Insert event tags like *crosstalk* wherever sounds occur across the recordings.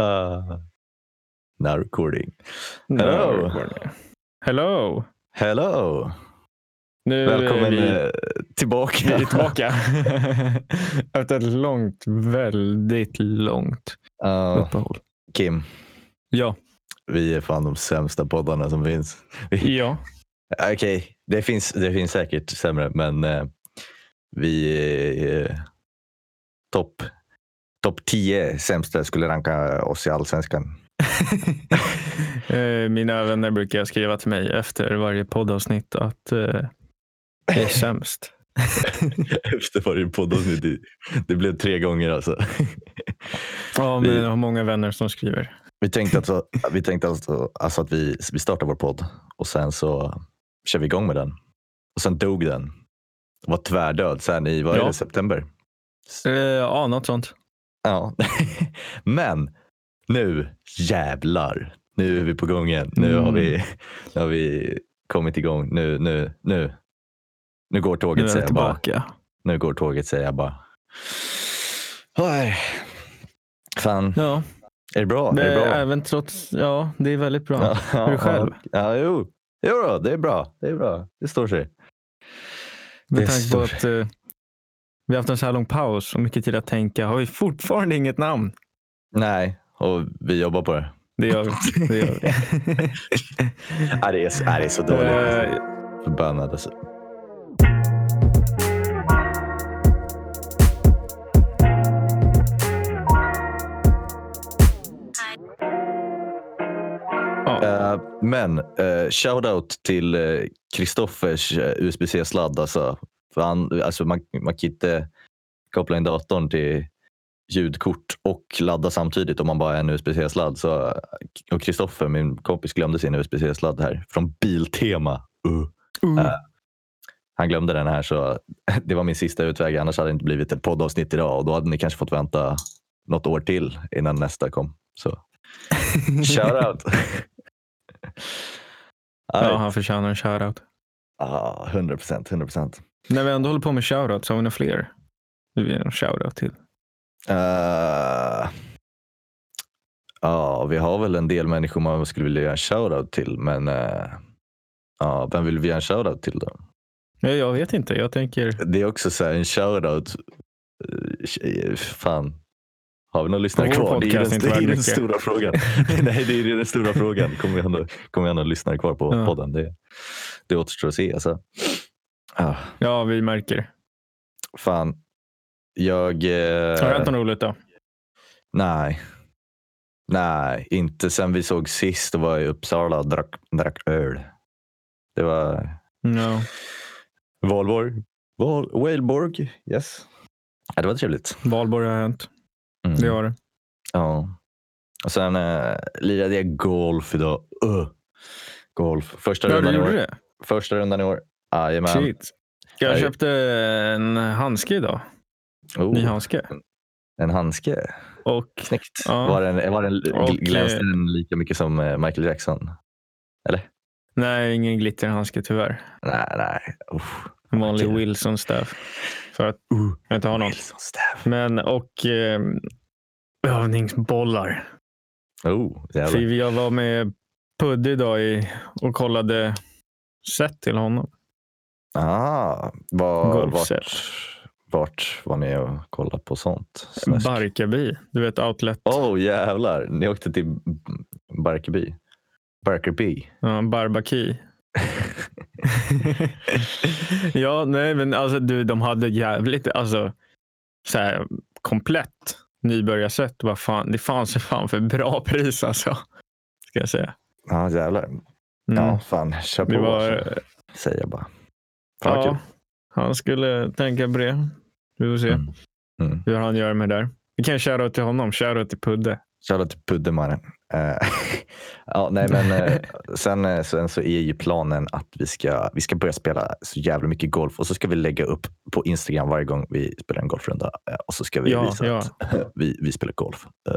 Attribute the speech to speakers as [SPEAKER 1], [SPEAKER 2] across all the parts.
[SPEAKER 1] Uh, now recording.
[SPEAKER 2] Hello.
[SPEAKER 1] Hello.
[SPEAKER 2] Hello.
[SPEAKER 1] Hello!
[SPEAKER 2] Nu är
[SPEAKER 1] Välkommen
[SPEAKER 2] vi,
[SPEAKER 1] eh,
[SPEAKER 2] vi
[SPEAKER 1] *laughs* tillbaka.
[SPEAKER 2] är tillbaka. Efter ett långt, väldigt långt
[SPEAKER 1] Ja,
[SPEAKER 2] uppehåll.
[SPEAKER 1] Ah, Kim,
[SPEAKER 2] Ja.
[SPEAKER 1] vi är fan de sämsta poddarna som finns. Eh,
[SPEAKER 2] ja.
[SPEAKER 1] Okej, det, finns, det finns säkert sämre, men eh, vi är eh, topp top 10 sämsta skulle ranka oss i
[SPEAKER 2] *laughs*
[SPEAKER 1] allsvenskan. *laughs*
[SPEAKER 2] Eh, Mina vänner brukar skriva till mig efter varje poddavsnitt att eh, det är sämst.
[SPEAKER 1] Efter varje poddavsnitt. Det- Det blev tre gånger alltså.
[SPEAKER 2] Ja, men jag har många vänner som skriver.
[SPEAKER 1] Vi tänkte, alltså, vi tänkte alltså, alltså att vi, vi startar vår podd och sen så kör vi igång med den. Och sen dog den. Var tvärdöd sen i vad är
[SPEAKER 2] Ja.
[SPEAKER 1] det, september.
[SPEAKER 2] Eh, Ja, något sånt.
[SPEAKER 1] Ja. *laughs* Men nu jävlar. Nu är vi på gång igen. Nu har
[SPEAKER 2] Mm.
[SPEAKER 1] vi, nu har vi kommit igång. Nu, nu, nu. Nu går
[SPEAKER 2] Nu
[SPEAKER 1] tåget
[SPEAKER 2] är
[SPEAKER 1] säger
[SPEAKER 2] jag
[SPEAKER 1] jag bara.
[SPEAKER 2] tillbaka.
[SPEAKER 1] Nu går tåget säger jag bara. Oj. Fan,
[SPEAKER 2] Ja,
[SPEAKER 1] är det bra?
[SPEAKER 2] det
[SPEAKER 1] är det bra?
[SPEAKER 2] är även trots... Ja, det är väldigt bra.
[SPEAKER 1] Ja,
[SPEAKER 2] Hur
[SPEAKER 1] ja,
[SPEAKER 2] själv?
[SPEAKER 1] Ja, jo. jo då, det är bra. Det är bra. Det står sig. det är
[SPEAKER 2] Med tanke på
[SPEAKER 1] stort.
[SPEAKER 2] att eh, vi har haft en så här lång paus och mycket tid att tänka har vi fortfarande inget namn.
[SPEAKER 1] Nej, och vi jobbar på det.
[SPEAKER 2] Det gör vi. Det
[SPEAKER 1] *laughs*
[SPEAKER 2] gör vi.
[SPEAKER 1] Nej, det är, så- nej, det är så dåligt.
[SPEAKER 2] Eh,
[SPEAKER 1] Förbannat alltså.
[SPEAKER 2] ja.
[SPEAKER 1] Eh, men uh, shoutout till eh, Kristoffers eh, USB-C-sladd. Alltså. För han, alltså man, man kan inte koppla in datorn till ljudkort och ladda samtidigt om man bara har en USB-C-sladd. Så, eh, och Kristoffer, min kompis, glömde sin USB-C-sladd här från Biltema. Uh.
[SPEAKER 2] Uh,
[SPEAKER 1] Han glömde den här så *laughs* det var min sista utväg. Annars hade det inte blivit ett poddavsnitt idag och då hade ni kanske fått vänta något år till innan nästa kom. Så *laughs* shoutout!
[SPEAKER 2] ja,
[SPEAKER 1] ja,
[SPEAKER 2] han förtjänar en shoutout.
[SPEAKER 1] ah, 100 procent, 100 procent.
[SPEAKER 2] När vi ändå håller på med shoutouts, har vi några fler? Du vill ge en shoutout till.
[SPEAKER 1] Ja, Eh, vi har väl en del människor man skulle vilja göra en shoutout till, men eh, ja, vem vill vi göra en shoutout till då?
[SPEAKER 2] Nej, jag vet inte. Jag tänker...
[SPEAKER 1] Det är också så här en shoutout. eh, Fan. Har vi någon lyssnare
[SPEAKER 2] Vår
[SPEAKER 1] kvar? Det är ju
[SPEAKER 2] podcast
[SPEAKER 1] den,
[SPEAKER 2] inte
[SPEAKER 1] det är
[SPEAKER 2] värd
[SPEAKER 1] ju den
[SPEAKER 2] mycket.
[SPEAKER 1] stora frågan. *laughs* Nej, det är ju den stora frågan. Kommer vi ha någon, kommer vi ha någon lyssnare kvar på
[SPEAKER 2] Ja.
[SPEAKER 1] podden? Det, det återstår att se. Alltså. Ah,
[SPEAKER 2] Ja, vi märker.
[SPEAKER 1] fan. Jag...
[SPEAKER 2] Har det
[SPEAKER 1] Eh,
[SPEAKER 2] hänt något roligt då?
[SPEAKER 1] nej. Nej, inte sen vi såg sist och var i Uppsala och drack, drack öl. Det var
[SPEAKER 2] No.
[SPEAKER 1] Valborg. Val, Waleborg. Yes. Ja, det var trevligt.
[SPEAKER 2] Valborg har hänt.
[SPEAKER 1] Mm.
[SPEAKER 2] Det har det.
[SPEAKER 1] Ja. Och sen eh, lirade jag golf idag. Ugh. Golf. Första
[SPEAKER 2] Ja,
[SPEAKER 1] rundan
[SPEAKER 2] du
[SPEAKER 1] i
[SPEAKER 2] gjorde
[SPEAKER 1] år.
[SPEAKER 2] det?
[SPEAKER 1] Första rundan i år. Jajamän.
[SPEAKER 2] Shit. Jag
[SPEAKER 1] Nej.
[SPEAKER 2] köpte en handske idag. Ny
[SPEAKER 1] Oh,
[SPEAKER 2] handske.
[SPEAKER 1] en handske.
[SPEAKER 2] Och
[SPEAKER 1] Snyggt.
[SPEAKER 2] Ja.
[SPEAKER 1] Var den, var den,
[SPEAKER 2] Och,
[SPEAKER 1] gl- glänste den lika mycket som eh, Michael Jackson?
[SPEAKER 2] nej, ingen glitterhandske tyvärr.
[SPEAKER 1] Nej, nej. Uff.
[SPEAKER 2] En vanlig
[SPEAKER 1] Okej.
[SPEAKER 2] Wilson staff. För att
[SPEAKER 1] Uh,
[SPEAKER 2] jag inte har någon.
[SPEAKER 1] Wilson Staff.
[SPEAKER 2] Men och eh, övningsbollar.
[SPEAKER 1] Oh,
[SPEAKER 2] För
[SPEAKER 1] jävlar.
[SPEAKER 2] jag var med Pudde idag i, och kollade set till honom.
[SPEAKER 1] Ah, var,
[SPEAKER 2] Golfset.
[SPEAKER 1] vart, vart var ni och kollade på sånt? Snask.
[SPEAKER 2] Barkarby. Du vet outlet.
[SPEAKER 1] Oh, jävlar. Ni åkte till Barkarby. Barkarby.
[SPEAKER 2] Ja, Barbaki.
[SPEAKER 1] *laughs*
[SPEAKER 2] ja, nej, men alltså du, de hade jävligt, alltså så här komplett nybörjarset. Vad fan, det fanns ju fan för bra pris alltså. Ska jag säga.
[SPEAKER 1] Ja, jävlar.
[SPEAKER 2] Mm.
[SPEAKER 1] Ja, fan. Kör på.
[SPEAKER 2] det
[SPEAKER 1] alltså.
[SPEAKER 2] var,
[SPEAKER 1] Säger jag bara. Fan vad
[SPEAKER 2] ja,
[SPEAKER 1] kul.
[SPEAKER 2] Han skulle tänka på det. Vi får se
[SPEAKER 1] Mm. Mm.
[SPEAKER 2] hur han gör med det där. Vi kan shoutout till honom, shoutout till Pudde.
[SPEAKER 1] Shoutout till Puddemannen. Eh, *laughs* ja, nej, men
[SPEAKER 2] *laughs*
[SPEAKER 1] eh, sen, eh, sen så är ju planen att vi ska, vi ska börja spela så jävla mycket golf och så ska vi lägga upp på Instagram varje gång vi spelar en golfrunda eh, och så ska vi
[SPEAKER 2] Ja,
[SPEAKER 1] visa
[SPEAKER 2] ja.
[SPEAKER 1] att *laughs* eh, vi, vi spelar golf. Eh,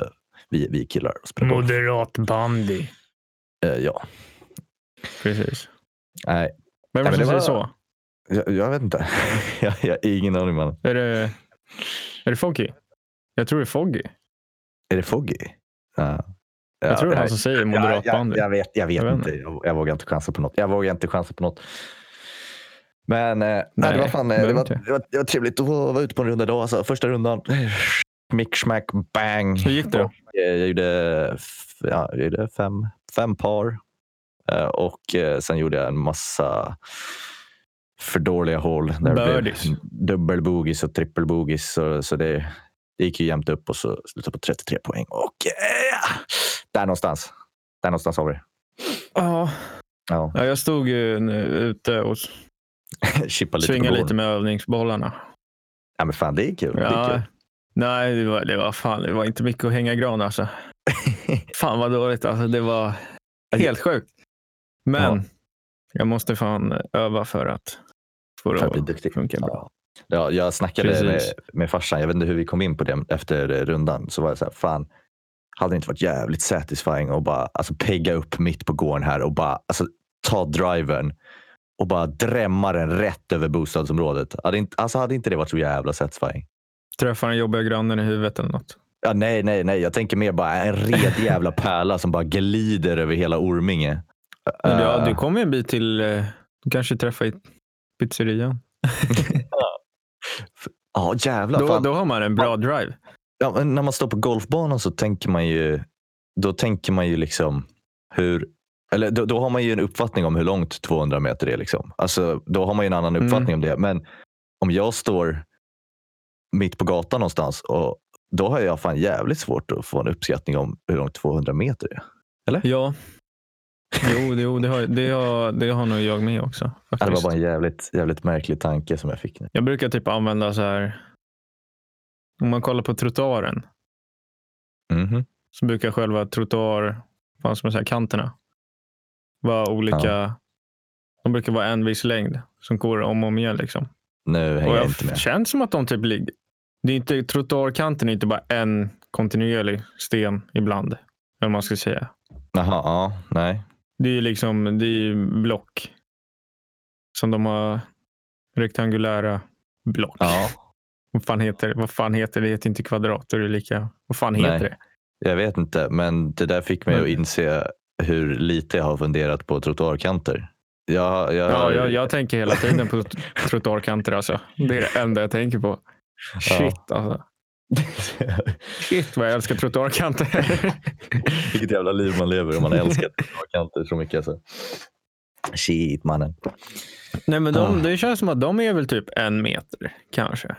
[SPEAKER 1] vi, vi killar och spelar
[SPEAKER 2] Mm,
[SPEAKER 1] golf.
[SPEAKER 2] Moderat bandy.
[SPEAKER 1] Eh, ja.
[SPEAKER 2] Precis.
[SPEAKER 1] Nej,
[SPEAKER 2] Vem
[SPEAKER 1] Nej,
[SPEAKER 2] är det
[SPEAKER 1] men
[SPEAKER 2] som säger
[SPEAKER 1] det
[SPEAKER 2] så?
[SPEAKER 1] jag, jag vet inte. *laughs* jag, jag har ingen aning. Man.
[SPEAKER 2] Är det, är det Foggy? Jag tror det är Foggy.
[SPEAKER 1] Är det Foggy? Ja. Ja,
[SPEAKER 2] jag tror det är han
[SPEAKER 1] nej.
[SPEAKER 2] som säger
[SPEAKER 1] Ja,
[SPEAKER 2] moderatbandy.
[SPEAKER 1] jag, jag vet, jag vet
[SPEAKER 2] Jag vet
[SPEAKER 1] inte. Jag, jag vågar inte chansa på något. Jag vågar inte chansa på något. Men eh, nej, det, var fan, eh, det,
[SPEAKER 2] behöver
[SPEAKER 1] var,
[SPEAKER 2] inte.
[SPEAKER 1] det, var, det var trevligt att vara ute på en runda idag. Alltså, första rundan, mick, smack, bang.
[SPEAKER 2] Hur gick det då?
[SPEAKER 1] Och, eh, jag gjorde, f- ja, jag gjorde fem, fem par Eh, och eh, sen gjorde jag en massa för dåliga hål. där det blev
[SPEAKER 2] Birdies.
[SPEAKER 1] Dubbelbogies och trippelbogies. Så, så det, det gick ju jämnt upp och så slutade på 33 poäng. Och eh, där någonstans. Där någonstans har vi det.
[SPEAKER 2] Ja,
[SPEAKER 1] Ja.
[SPEAKER 2] ja, jag stod ju nu ute och
[SPEAKER 1] Chippa lite
[SPEAKER 2] svingade
[SPEAKER 1] på
[SPEAKER 2] lite
[SPEAKER 1] lite.
[SPEAKER 2] med övningsbollarna.
[SPEAKER 1] Ja, men fan, det är kul. Det är
[SPEAKER 2] Ja.
[SPEAKER 1] kul.
[SPEAKER 2] Nej, det var, det var fan, det var inte mycket att hänga i
[SPEAKER 1] *laughs*
[SPEAKER 2] gran alltså. Fan vad dåligt alltså. Det var helt sjukt. Men
[SPEAKER 1] Ja.
[SPEAKER 2] jag måste fan öva för att få
[SPEAKER 1] För att
[SPEAKER 2] det
[SPEAKER 1] bli
[SPEAKER 2] att
[SPEAKER 1] duktig.
[SPEAKER 2] funkar bra.
[SPEAKER 1] Ja. Ja, jag snackade med,
[SPEAKER 2] Precis.
[SPEAKER 1] med farsan, jag vet inte hur vi kom in på det efter eh, rundan. Så var jag så här, fan, hade det inte varit jävligt satisfying att bara alltså, pegga upp mitt på gården här och bara alltså, ta driven och bara drämma den rätt över bostadsområdet. Hade inte, alltså, hade inte det varit så jävla satisfying?
[SPEAKER 2] Träffa den jobbiga grannen i huvudet eller något.
[SPEAKER 1] Ja, nej, nej, nej. Jag tänker mer bara en red jävla pärla som bara glider över hela Orminge.
[SPEAKER 2] Men
[SPEAKER 1] Eh,
[SPEAKER 2] ja, du kommer en bit till. eh, Du kanske träffar i pizzerian.
[SPEAKER 1] Ja, jävlar.
[SPEAKER 2] Då,
[SPEAKER 1] fan.
[SPEAKER 2] då har man en bra drive.
[SPEAKER 1] ja, men när man står på golfbanan så tänker man ju, då tänker man ju liksom hur, eller då, då har man ju en uppfattning om hur långt 200 meter är. Liksom. Alltså, då har man ju en annan
[SPEAKER 2] Mm.
[SPEAKER 1] uppfattning om det. Men om jag står mitt på gatan någonstans, och då har jag fan jävligt svårt att få en uppskattning om hur långt 200 meter är.
[SPEAKER 2] Ja. Jo, det, jo det, har, det, har, det har nog jag med också.
[SPEAKER 1] Ja, Det var
[SPEAKER 2] Faktiskt.
[SPEAKER 1] bara en jävligt, jävligt märklig tanke som jag fick. nu.
[SPEAKER 2] Jag brukar typ använda så här. Om man kollar på trottoaren
[SPEAKER 1] Mhm.
[SPEAKER 2] så brukar själva trottoar, vad ska man säga, kanterna vara olika. De brukar vara en viss längd som går om och om igen. Liksom.
[SPEAKER 1] Nu hänger
[SPEAKER 2] och
[SPEAKER 1] jag
[SPEAKER 2] jag
[SPEAKER 1] inte med.
[SPEAKER 2] känns som att de typ ligger... Det är inte, trottoarkanten är inte bara en kontinuerlig sten ibland. Eller vad man ska säga.
[SPEAKER 1] Jaha, ja, nej.
[SPEAKER 2] Det är ju liksom det är ju block. Som de har rektangulära block.
[SPEAKER 1] Ja,
[SPEAKER 2] Vad, fan heter, det? vad fan heter det? Det heter inte kvadrat. då är Det är lika. Vad fan
[SPEAKER 1] Nej.
[SPEAKER 2] heter det?
[SPEAKER 1] jag vet inte, men det där fick mig
[SPEAKER 2] Men-
[SPEAKER 1] att inse hur lite jag har funderat på trottoarkanter. Jag, jag,
[SPEAKER 2] Ja, jag, jag tänker hela tiden på tr- trottoarkanter. Alltså. Det är det enda jag tänker på. Shit, alltså. Shit vad jag älskar trottoarkanter.
[SPEAKER 1] *laughs* Vilket jävla liv man lever om man
[SPEAKER 2] *laughs*
[SPEAKER 1] älskar trottoarkanter så mycket. Alltså. Shit mannen. *laughs*
[SPEAKER 2] Nej, men de,
[SPEAKER 1] Ah.
[SPEAKER 2] Det känns som att de är väl typ en meter kanske.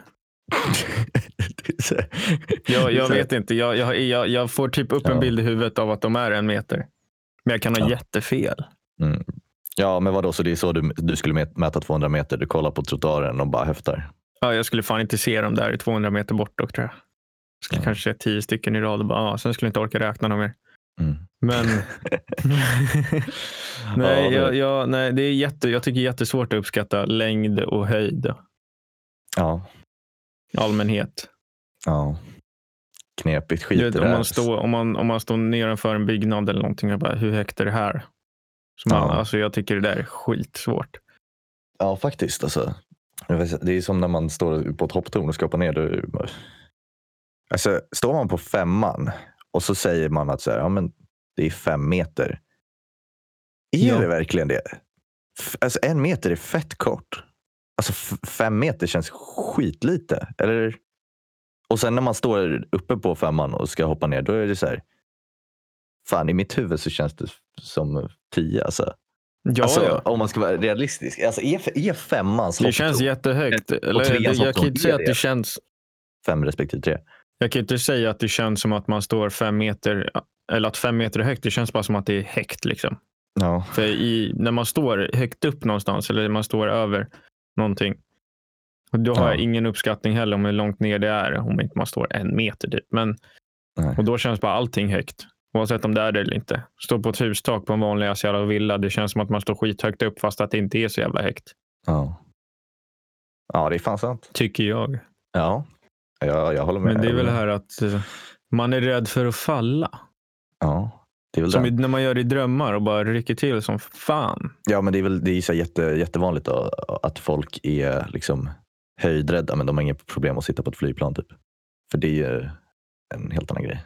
[SPEAKER 1] Det är så-
[SPEAKER 2] Jag,
[SPEAKER 1] det är
[SPEAKER 2] jag
[SPEAKER 1] så-
[SPEAKER 2] vet inte. Jag, jag, jag, jag får typ upp
[SPEAKER 1] Ja.
[SPEAKER 2] en bild i huvudet av att de är en meter. Men jag kan ha
[SPEAKER 1] Ja.
[SPEAKER 2] jättefel.
[SPEAKER 1] Mm. Ja, men vadå, så det är så du, du skulle mä- mäta 200 meter? Du kollar på trottoaren och bara höftar?
[SPEAKER 2] Ja, jag skulle fan inte se dem där 200 meter bort dock tror jag. Jag skulle
[SPEAKER 1] Ja.
[SPEAKER 2] kanske se tio stycken i rad och bara, ah, sen skulle jag inte orka räkna dem mer.
[SPEAKER 1] Mm.
[SPEAKER 2] Men nej,
[SPEAKER 1] *laughs* Ja, det-
[SPEAKER 2] jag, jag, *laughs* nej, det är jätte, jag tycker det är jättesvårt att uppskatta längd och höjd.
[SPEAKER 1] Ja,
[SPEAKER 2] Allmänhet.
[SPEAKER 1] ja. Knepigt skit
[SPEAKER 2] Du
[SPEAKER 1] det
[SPEAKER 2] vet,
[SPEAKER 1] där.
[SPEAKER 2] om, man står, om, man, om man står nedanför en byggnad eller någonting och bara, hur högt är det här? Så man,
[SPEAKER 1] Ja.
[SPEAKER 2] alltså, jag tycker det där är skitsvårt.
[SPEAKER 1] Ja, faktiskt. Alltså. Jag vet inte, Det är som när man står på ett hopptorn och ska hoppa ner. Då... Alltså, står man på femman och så säger man att så här, ja, men det är fem meter. Är
[SPEAKER 2] Ja.
[SPEAKER 1] det verkligen det? F- Alltså, en meter är fett kort. Alltså, f- fem meter känns skitlite. Eller... Och sen när man står uppe på femman och ska hoppa ner, då är det så här. Fan, i mitt huvud så känns det som tio. Alltså.
[SPEAKER 2] Ja,
[SPEAKER 1] alltså,
[SPEAKER 2] ja.
[SPEAKER 1] Om man ska vara realistisk. Alltså, är, är femmans
[SPEAKER 2] Det
[SPEAKER 1] hopp
[SPEAKER 2] känns
[SPEAKER 1] tog
[SPEAKER 2] jättehögt.
[SPEAKER 1] treans
[SPEAKER 2] Eller, det- jag
[SPEAKER 1] hopptorn,
[SPEAKER 2] kan inte säga
[SPEAKER 1] det är
[SPEAKER 2] att det
[SPEAKER 1] det.
[SPEAKER 2] känns
[SPEAKER 1] fem respektive tre?
[SPEAKER 2] Jag kan ju inte säga att det känns som att man står fem meter eller att fem meter är högt. Det känns bara som att det är högt. Liksom.
[SPEAKER 1] Ja.
[SPEAKER 2] För i, när man står högt upp någonstans eller man står över någonting. Då har
[SPEAKER 1] Ja.
[SPEAKER 2] jag ingen uppskattning heller om hur långt ner det är om inte man står en meter typ. Men,
[SPEAKER 1] Nej.
[SPEAKER 2] och då känns bara allting högt. Oavsett om det är det eller inte. Stå på ett hustak på en vanlig asiala villa. Det känns som att man står skithögt upp fast att det inte är så jävla högt.
[SPEAKER 1] ja. Ja, det är fan sant.
[SPEAKER 2] Tycker jag.
[SPEAKER 1] Ja, jag, jag håller med.
[SPEAKER 2] Men det är
[SPEAKER 1] Jag
[SPEAKER 2] väl det
[SPEAKER 1] håller med.
[SPEAKER 2] här att eh, man är rädd för att falla.
[SPEAKER 1] Ja, det är väl
[SPEAKER 2] Som
[SPEAKER 1] den.
[SPEAKER 2] i- när man gör det i drömmar och bara rycker till som fan.
[SPEAKER 1] Ja, men det är väl det är så jätte, jättevanligt då, att folk är liksom höjdrädda, men de har *laughs* inget problem att sitta på ett flygplan. Typ. För det är ju en helt annan grej.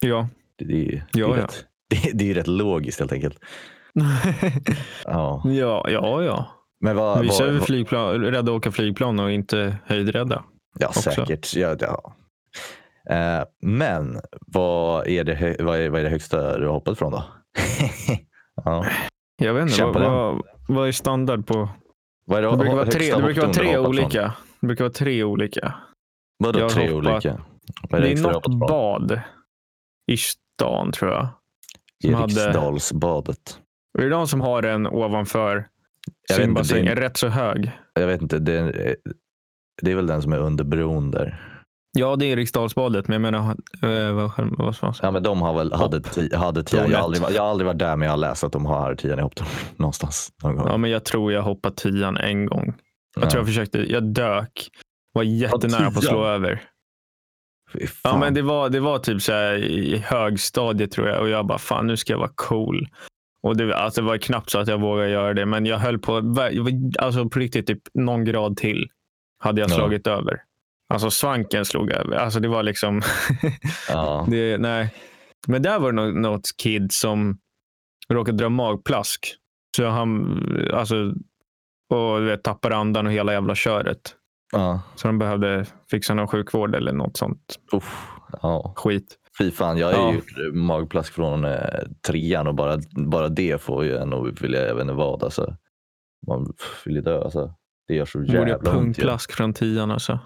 [SPEAKER 2] Ja,
[SPEAKER 1] Det är ju
[SPEAKER 2] Ja,
[SPEAKER 1] det är
[SPEAKER 2] ja.
[SPEAKER 1] rätt, *laughs* det, det är ju rätt logiskt helt enkelt. Ja.
[SPEAKER 2] ja, ja, ja.
[SPEAKER 1] Men vad,
[SPEAKER 2] Vissa är
[SPEAKER 1] vad,
[SPEAKER 2] väl
[SPEAKER 1] vad,
[SPEAKER 2] flygplan, rädda att åka flygplan och inte höjdrädda.
[SPEAKER 1] Ja,
[SPEAKER 2] också.
[SPEAKER 1] säkert. Ja, ja. Eh, men vad är, det, hö- vad, är, vad är det högsta du har hoppat från då? *laughs* ja.
[SPEAKER 2] Jag vet inte,
[SPEAKER 1] Känn
[SPEAKER 2] vad,
[SPEAKER 1] på den.
[SPEAKER 2] vad, vad är standard på?
[SPEAKER 1] Vad är det,
[SPEAKER 2] Det brukar vara
[SPEAKER 1] högsta
[SPEAKER 2] tre, det
[SPEAKER 1] hopp
[SPEAKER 2] brukar
[SPEAKER 1] du har
[SPEAKER 2] vara tre
[SPEAKER 1] hoppat från?
[SPEAKER 2] olika. Det brukar vara tre olika.
[SPEAKER 1] Vadå
[SPEAKER 2] Jag har
[SPEAKER 1] tre
[SPEAKER 2] hoppat-
[SPEAKER 1] olika?
[SPEAKER 2] Det
[SPEAKER 1] Vad är det,
[SPEAKER 2] är
[SPEAKER 1] högsta du har hoppat
[SPEAKER 2] något
[SPEAKER 1] från?
[SPEAKER 2] bad i stan tror jag. som hade-
[SPEAKER 1] Eriksdalsbadet.
[SPEAKER 2] Och det är de som har den ovanför
[SPEAKER 1] Jag vet
[SPEAKER 2] sin
[SPEAKER 1] inte, det
[SPEAKER 2] bassäng.
[SPEAKER 1] är-
[SPEAKER 2] Rätt så hög.
[SPEAKER 1] Jag vet inte, det är, det är väl den som är under bron där.
[SPEAKER 2] Ja, det är Eriksdalsbadet, men jag menar, eh, vad, själv- vad ska man säga?
[SPEAKER 1] Ja, men de har väl, hade, ti, hade tian. Jag har, aldrig, varit- jag har aldrig varit där, men jag har läst att de har tian i hopptorn *laughs* någonstans. Någon gång.
[SPEAKER 2] Ja, men jag tror jag hoppade tian en gång. Jag tror jag försökte, jag dök. Var jättenära på att slå
[SPEAKER 1] tian?
[SPEAKER 2] över.
[SPEAKER 1] Fy
[SPEAKER 2] Ja,
[SPEAKER 1] fan.
[SPEAKER 2] men det var, det var typ så här i högstadiet tror jag och jag bara fan nu ska jag vara cool. Och det, alltså, det var knappt så att jag vågade göra det, men jag höll på. jag var- Alltså på riktigt, typ någon grad till hade jag
[SPEAKER 1] Ja.
[SPEAKER 2] slagit över. Alltså svanken slog över. Alltså det var liksom.
[SPEAKER 1] ja.
[SPEAKER 2] det, nej. Men där var det nå- något kid som råkade dra magplask. Så han, alltså, och du vet, tappade andan och hela jävla köret.
[SPEAKER 1] Ja.
[SPEAKER 2] Så de behövde fixa någon sjukvård eller något sånt
[SPEAKER 1] Uff. ja.
[SPEAKER 2] skit.
[SPEAKER 1] Fy fan, jag har
[SPEAKER 2] Ja.
[SPEAKER 1] ju gjort magplask från eh, trean och bara, bara det får ju en att vilja, jag vet inte vad. Alltså. Man vill ju dö alltså. Det gör så
[SPEAKER 2] Borde
[SPEAKER 1] jävla ont. ju.
[SPEAKER 2] pungplask från tian alltså.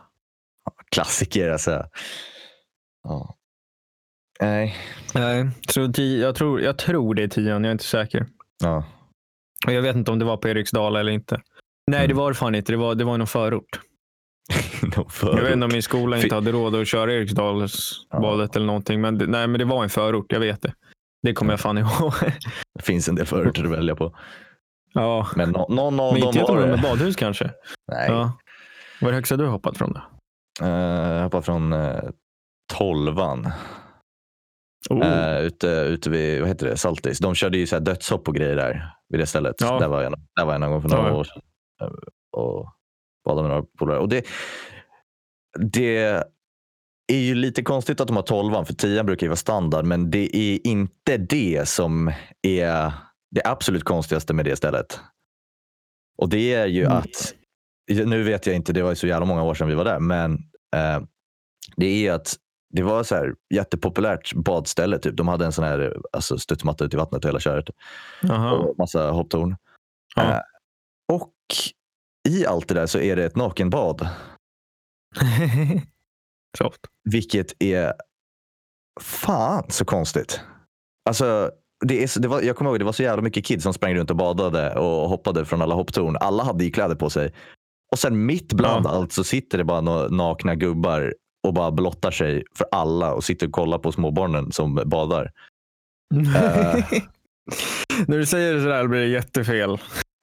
[SPEAKER 1] Klassiker alltså. Ja. Nej.
[SPEAKER 2] Nej, så ti- jag, tror, jag tror det är tian, jag är inte säker.
[SPEAKER 1] Ja. *laughs*
[SPEAKER 2] Och jag vet inte om det var på Eriksdala eller inte. Nej,
[SPEAKER 1] Mm.
[SPEAKER 2] det var det fan inte. Det var, det var i någon förort.
[SPEAKER 1] Någon
[SPEAKER 2] Jag vet inte
[SPEAKER 1] förort.
[SPEAKER 2] om min skola
[SPEAKER 1] Fi-
[SPEAKER 2] inte hade råd att köra Eriksdalsbadet eller någonting. Men det, nej, men det var en förort. Jag vet det. Det kommer jag fan ihåg. *laughs*
[SPEAKER 1] Det finns en del förorter att välja på.
[SPEAKER 2] ja.
[SPEAKER 1] Men nå- någon av
[SPEAKER 2] Men
[SPEAKER 1] dem
[SPEAKER 2] inte
[SPEAKER 1] var
[SPEAKER 2] Göteborg med
[SPEAKER 1] det.
[SPEAKER 2] badhus kanske?
[SPEAKER 1] Nej.
[SPEAKER 2] Ja. Vad är det högsta du har hoppat från då?
[SPEAKER 1] Eh, jag hoppade från eh, tolvan.
[SPEAKER 2] Oh.
[SPEAKER 1] Eh, ute, ute vid vad heter det? Saltis. De körde ju så här dödshopp och grejer där vid det stället.
[SPEAKER 2] Ja.
[SPEAKER 1] Där, var jag, där var jag någon gång för några
[SPEAKER 2] Ja.
[SPEAKER 1] år sedan. Eh, Och badade med några polare. Och det, det är ju lite konstigt att de har tolvan för tian brukar ju vara standard. Men det är inte det som är det absolut konstigaste med det stället. Och det är ju
[SPEAKER 2] Mm.
[SPEAKER 1] att nu vet jag inte, det var ju så jävla många år sedan vi var där, men eh, det är att det var så här jättepopulärt badställe. Typ. De hade en sån här eh, alltså, studsmatta ute i vattnet och hela köret
[SPEAKER 2] Jaha.
[SPEAKER 1] och massa hopptorn.
[SPEAKER 2] Ja.
[SPEAKER 1] Eh, och i allt det där så är det ett
[SPEAKER 2] *laughs*
[SPEAKER 1] nakenbad,
[SPEAKER 2] Soft.
[SPEAKER 1] vilket är fan så konstigt. Alltså, det är, så- det var, jag kommer ihåg det var så jävla mycket kids som sprang runt och badade och hoppade från alla hopptorn. Alla hade ju kläder på sig. Och sen mitt bland
[SPEAKER 2] Ja.
[SPEAKER 1] allt så sitter det bara några nakna gubbar och bara blottar sig för alla och sitter och kollar på småbarnen som badar. Eh.
[SPEAKER 2] *laughs* När du säger det sådär blir det jättefel.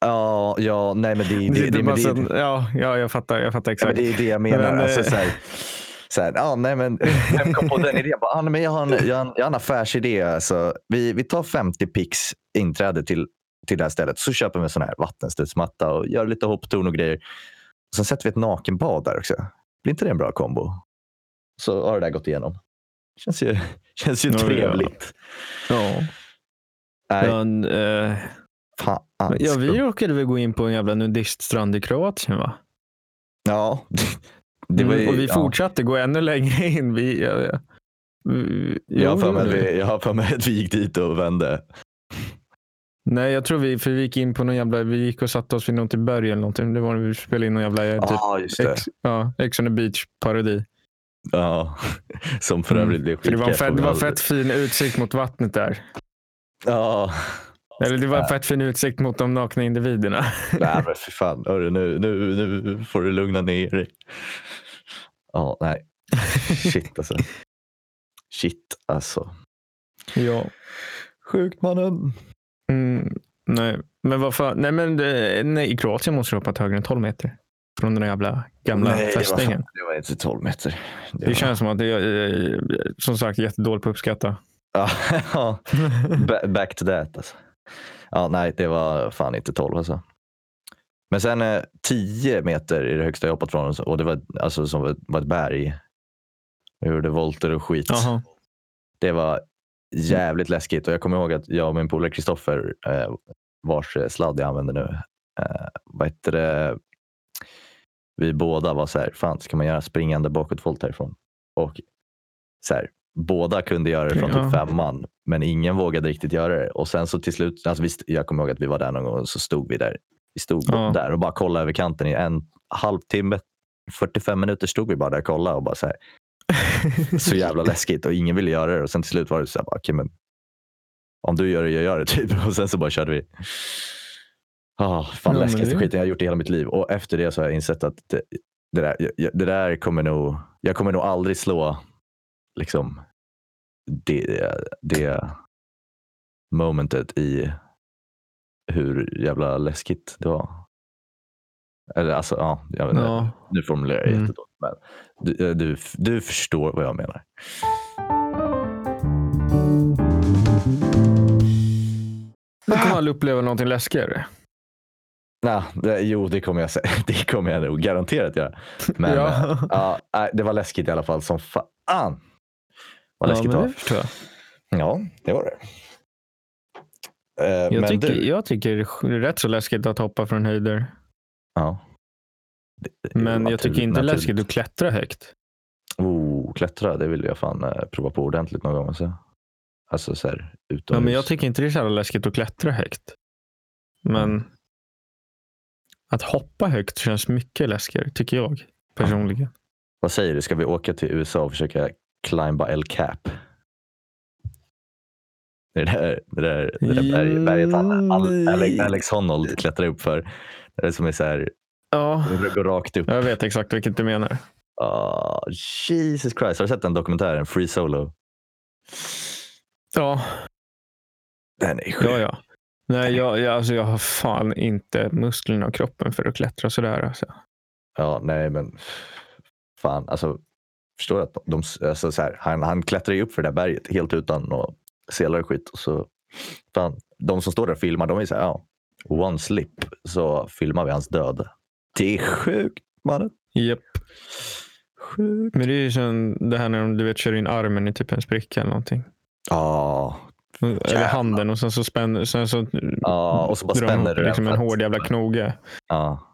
[SPEAKER 1] Ja, ja nej men det, det,
[SPEAKER 2] Det
[SPEAKER 1] det,
[SPEAKER 2] sitter
[SPEAKER 1] det, men det,
[SPEAKER 2] massa-
[SPEAKER 1] det,
[SPEAKER 2] ja, ja, jag fattar, jag fattar
[SPEAKER 1] men
[SPEAKER 2] exakt.
[SPEAKER 1] det är det jag menar.
[SPEAKER 2] Men, eh,
[SPEAKER 1] alltså, så här, så här, ja, nej, men, vem kom på den idén? *laughs* Jag, bara, ah, nej, men jag, har en, jag, har en, jag har en affärsidé. Alltså, vi, vi tar 50 pix inträde till, till det här stället. Så köper vi en sån här vattenstudsmatta och gör lite hopptorn och grejer. Och sen sätter vi ett nakenbad där också. Blir inte det en bra kombo? Så har det där gått igenom. Känns ju, *laughs* känns ju
[SPEAKER 2] Ja, ja.
[SPEAKER 1] trevligt.
[SPEAKER 2] Ja.
[SPEAKER 1] Nej,
[SPEAKER 2] Men, eh,
[SPEAKER 1] fan. alltså.
[SPEAKER 2] ja, vi råkade väl gå in på en jävla nudiststrand i Kroatien va?
[SPEAKER 1] Ja, det var ju,
[SPEAKER 2] Mm, och vi
[SPEAKER 1] ja.
[SPEAKER 2] fortsatte gå ännu längre in. Vi, ja, ja. Vi-
[SPEAKER 1] Jag har
[SPEAKER 2] jo,
[SPEAKER 1] för mig
[SPEAKER 2] det
[SPEAKER 1] att
[SPEAKER 2] gjorde vi.
[SPEAKER 1] vi- jag har för mig att vi gick dit och vände.
[SPEAKER 2] Nej, jag tror vi, för vi gick in på någon jävla, vi gick och satte oss vid något i berg eller någonting. Det var när vi spelade in någon jävla eh, typ,
[SPEAKER 1] ah, just
[SPEAKER 2] ex, ja, Ex on the beach parodi.
[SPEAKER 1] Ja, *laughs* som för
[SPEAKER 2] Mm.
[SPEAKER 1] övrigt blev
[SPEAKER 2] För det var, en
[SPEAKER 1] skitkul.
[SPEAKER 2] fett, det var fett fin utsikt mot vattnet där.
[SPEAKER 1] Ja, *laughs*
[SPEAKER 2] Eller det var en fett fin utsikt mot de nakna individerna. *laughs*
[SPEAKER 1] nej men för fan. Hörru, nu, nu, nu får du lugna ner dig. Ja, nej. Shit
[SPEAKER 2] *laughs*
[SPEAKER 1] alltså. Shit alltså.
[SPEAKER 2] ja.
[SPEAKER 1] Sjukt mannen.
[SPEAKER 2] Mm, nej, men vad fan. Nej, men det, nej, i Kroatien måste du hoppa högre än 12 meter. Från den där jävla gamla
[SPEAKER 1] nej, Det var,
[SPEAKER 2] fästingen.
[SPEAKER 1] fan- det var inte 12 meter.
[SPEAKER 2] Det,
[SPEAKER 1] var-
[SPEAKER 2] känns som att det är, eh, som sagt, jättedåligt på
[SPEAKER 1] *laughs*
[SPEAKER 2] att uppskatta.
[SPEAKER 1] Ja, *laughs* ja. Ba- Back to that alltså. Ja, nej, det var fan inte 12 alltså. Men sen eh, 10 meter är det högsta jag hoppat från och det var, alltså, som var, var ett berg. Jag gjorde volter och skit.
[SPEAKER 2] Jaha.
[SPEAKER 1] Det var
[SPEAKER 2] Mm.
[SPEAKER 1] jävligt läskigt. Och jag kommer ihåg att jag och min polare Kristoffer, eh, vars sladd jag använder nu, eh, vad heter det? vi båda var så här, fan ska man göra springande bakåtvolt härifrån? Och så här, båda kunde göra det från
[SPEAKER 2] Ja.
[SPEAKER 1] typ femman, men ingen vågade riktigt göra det. Och sen så till slut, alltså vi, st- jag kommer ihåg att vi var där någon gång och så stod vi där. Vi stod
[SPEAKER 2] Ja.
[SPEAKER 1] där och bara kollade över kanten i en halvtimme, 45 minuter stod vi bara där och kollade och bara så här, så jävla läskigt och ingen ville göra det. Och sen till slut var det så här, bara, okej men om du gör det, jag gör det *laughs* typ. Och sen så bara körde vi. Ah, fan
[SPEAKER 2] Ja, men
[SPEAKER 1] läskigaste
[SPEAKER 2] det-
[SPEAKER 1] skiten jag har gjort i hela mitt liv. Och efter det så har jag insett att det, det, där, jag- jag- det där kommer nog, jag kommer nog aldrig slå liksom det, det momentet i hur jävla läskigt det var. Eller alltså, ja, jag vet inte.
[SPEAKER 2] ja.
[SPEAKER 1] Nu formulerar jag
[SPEAKER 2] Mm.
[SPEAKER 1] jättedåligt, men du, eh, du, du förstår vad jag menar.
[SPEAKER 2] Du kommer aldrig uppleva någonting läskigare.
[SPEAKER 1] Nah, det, jo, det kommer jag säga. *laughs* Det kommer jag nog garanterat göra. Men ja.
[SPEAKER 2] ja.
[SPEAKER 1] nej, det var läskigt i alla fall som fan. Vad läskigt
[SPEAKER 2] ja,
[SPEAKER 1] det
[SPEAKER 2] men
[SPEAKER 1] var.
[SPEAKER 2] det förstår jag.
[SPEAKER 1] Ja, det var det. Eh,
[SPEAKER 2] Jag
[SPEAKER 1] men
[SPEAKER 2] tycker,
[SPEAKER 1] du.
[SPEAKER 2] jag tycker det är rätt så läskigt att hoppa från höjder.
[SPEAKER 1] Ja. Det- det-
[SPEAKER 2] Men jag
[SPEAKER 1] natur-
[SPEAKER 2] tycker inte det är
[SPEAKER 1] natur-
[SPEAKER 2] läskigt att klättra högt.
[SPEAKER 1] Oh, klättra, det vill jag fan eh, prova på ordentligt någon gång. Alltså, alltså så här
[SPEAKER 2] Ja,
[SPEAKER 1] utomhus.
[SPEAKER 2] men jag tycker inte det är så jävla läskigt att klättra högt. Men att hoppa högt känns mycket läskigare, tycker jag personligen.
[SPEAKER 1] Vad säger du, ska vi åka till USA och försöka climba El Cap? Det där, det där, det där berg- berget han, Al- Alex, Alex Honnold klättrar upp för. Det är som är så här,
[SPEAKER 2] Ja,
[SPEAKER 1] det går rakt upp.
[SPEAKER 2] jag vet exakt vilket du menar.
[SPEAKER 1] Ah, Jesus Christ, har du sett den dokumentären Free Solo?
[SPEAKER 2] Ja,
[SPEAKER 1] Den är sjuk.
[SPEAKER 2] ja, ja. Nej, jag, jag, alltså, jag har fan inte musklerna och kroppen för att klättra sådär. Alltså.
[SPEAKER 1] Ja, nej men fan. Alltså, förstår du att de, alltså, så här, han, han klättrar ju upp för det där berget helt utan några selar och skit. Och så, fan, de som står där och filmar, de är så här, ja, one slip så filmar vi hans död. Det är sjukt mannen.
[SPEAKER 2] Japp.
[SPEAKER 1] Sjukt.
[SPEAKER 2] Men det är ju som det här när de du vet, kör in armen i typ en spricka eller någonting.
[SPEAKER 1] Ja,
[SPEAKER 2] Eller
[SPEAKER 1] Jävlar.
[SPEAKER 2] handen och sen så spänner sen så
[SPEAKER 1] ja, och så bara
[SPEAKER 2] drar
[SPEAKER 1] spänner du
[SPEAKER 2] de ihop
[SPEAKER 1] den
[SPEAKER 2] liksom en
[SPEAKER 1] för att-
[SPEAKER 2] hård jävla knoge.
[SPEAKER 1] Ja.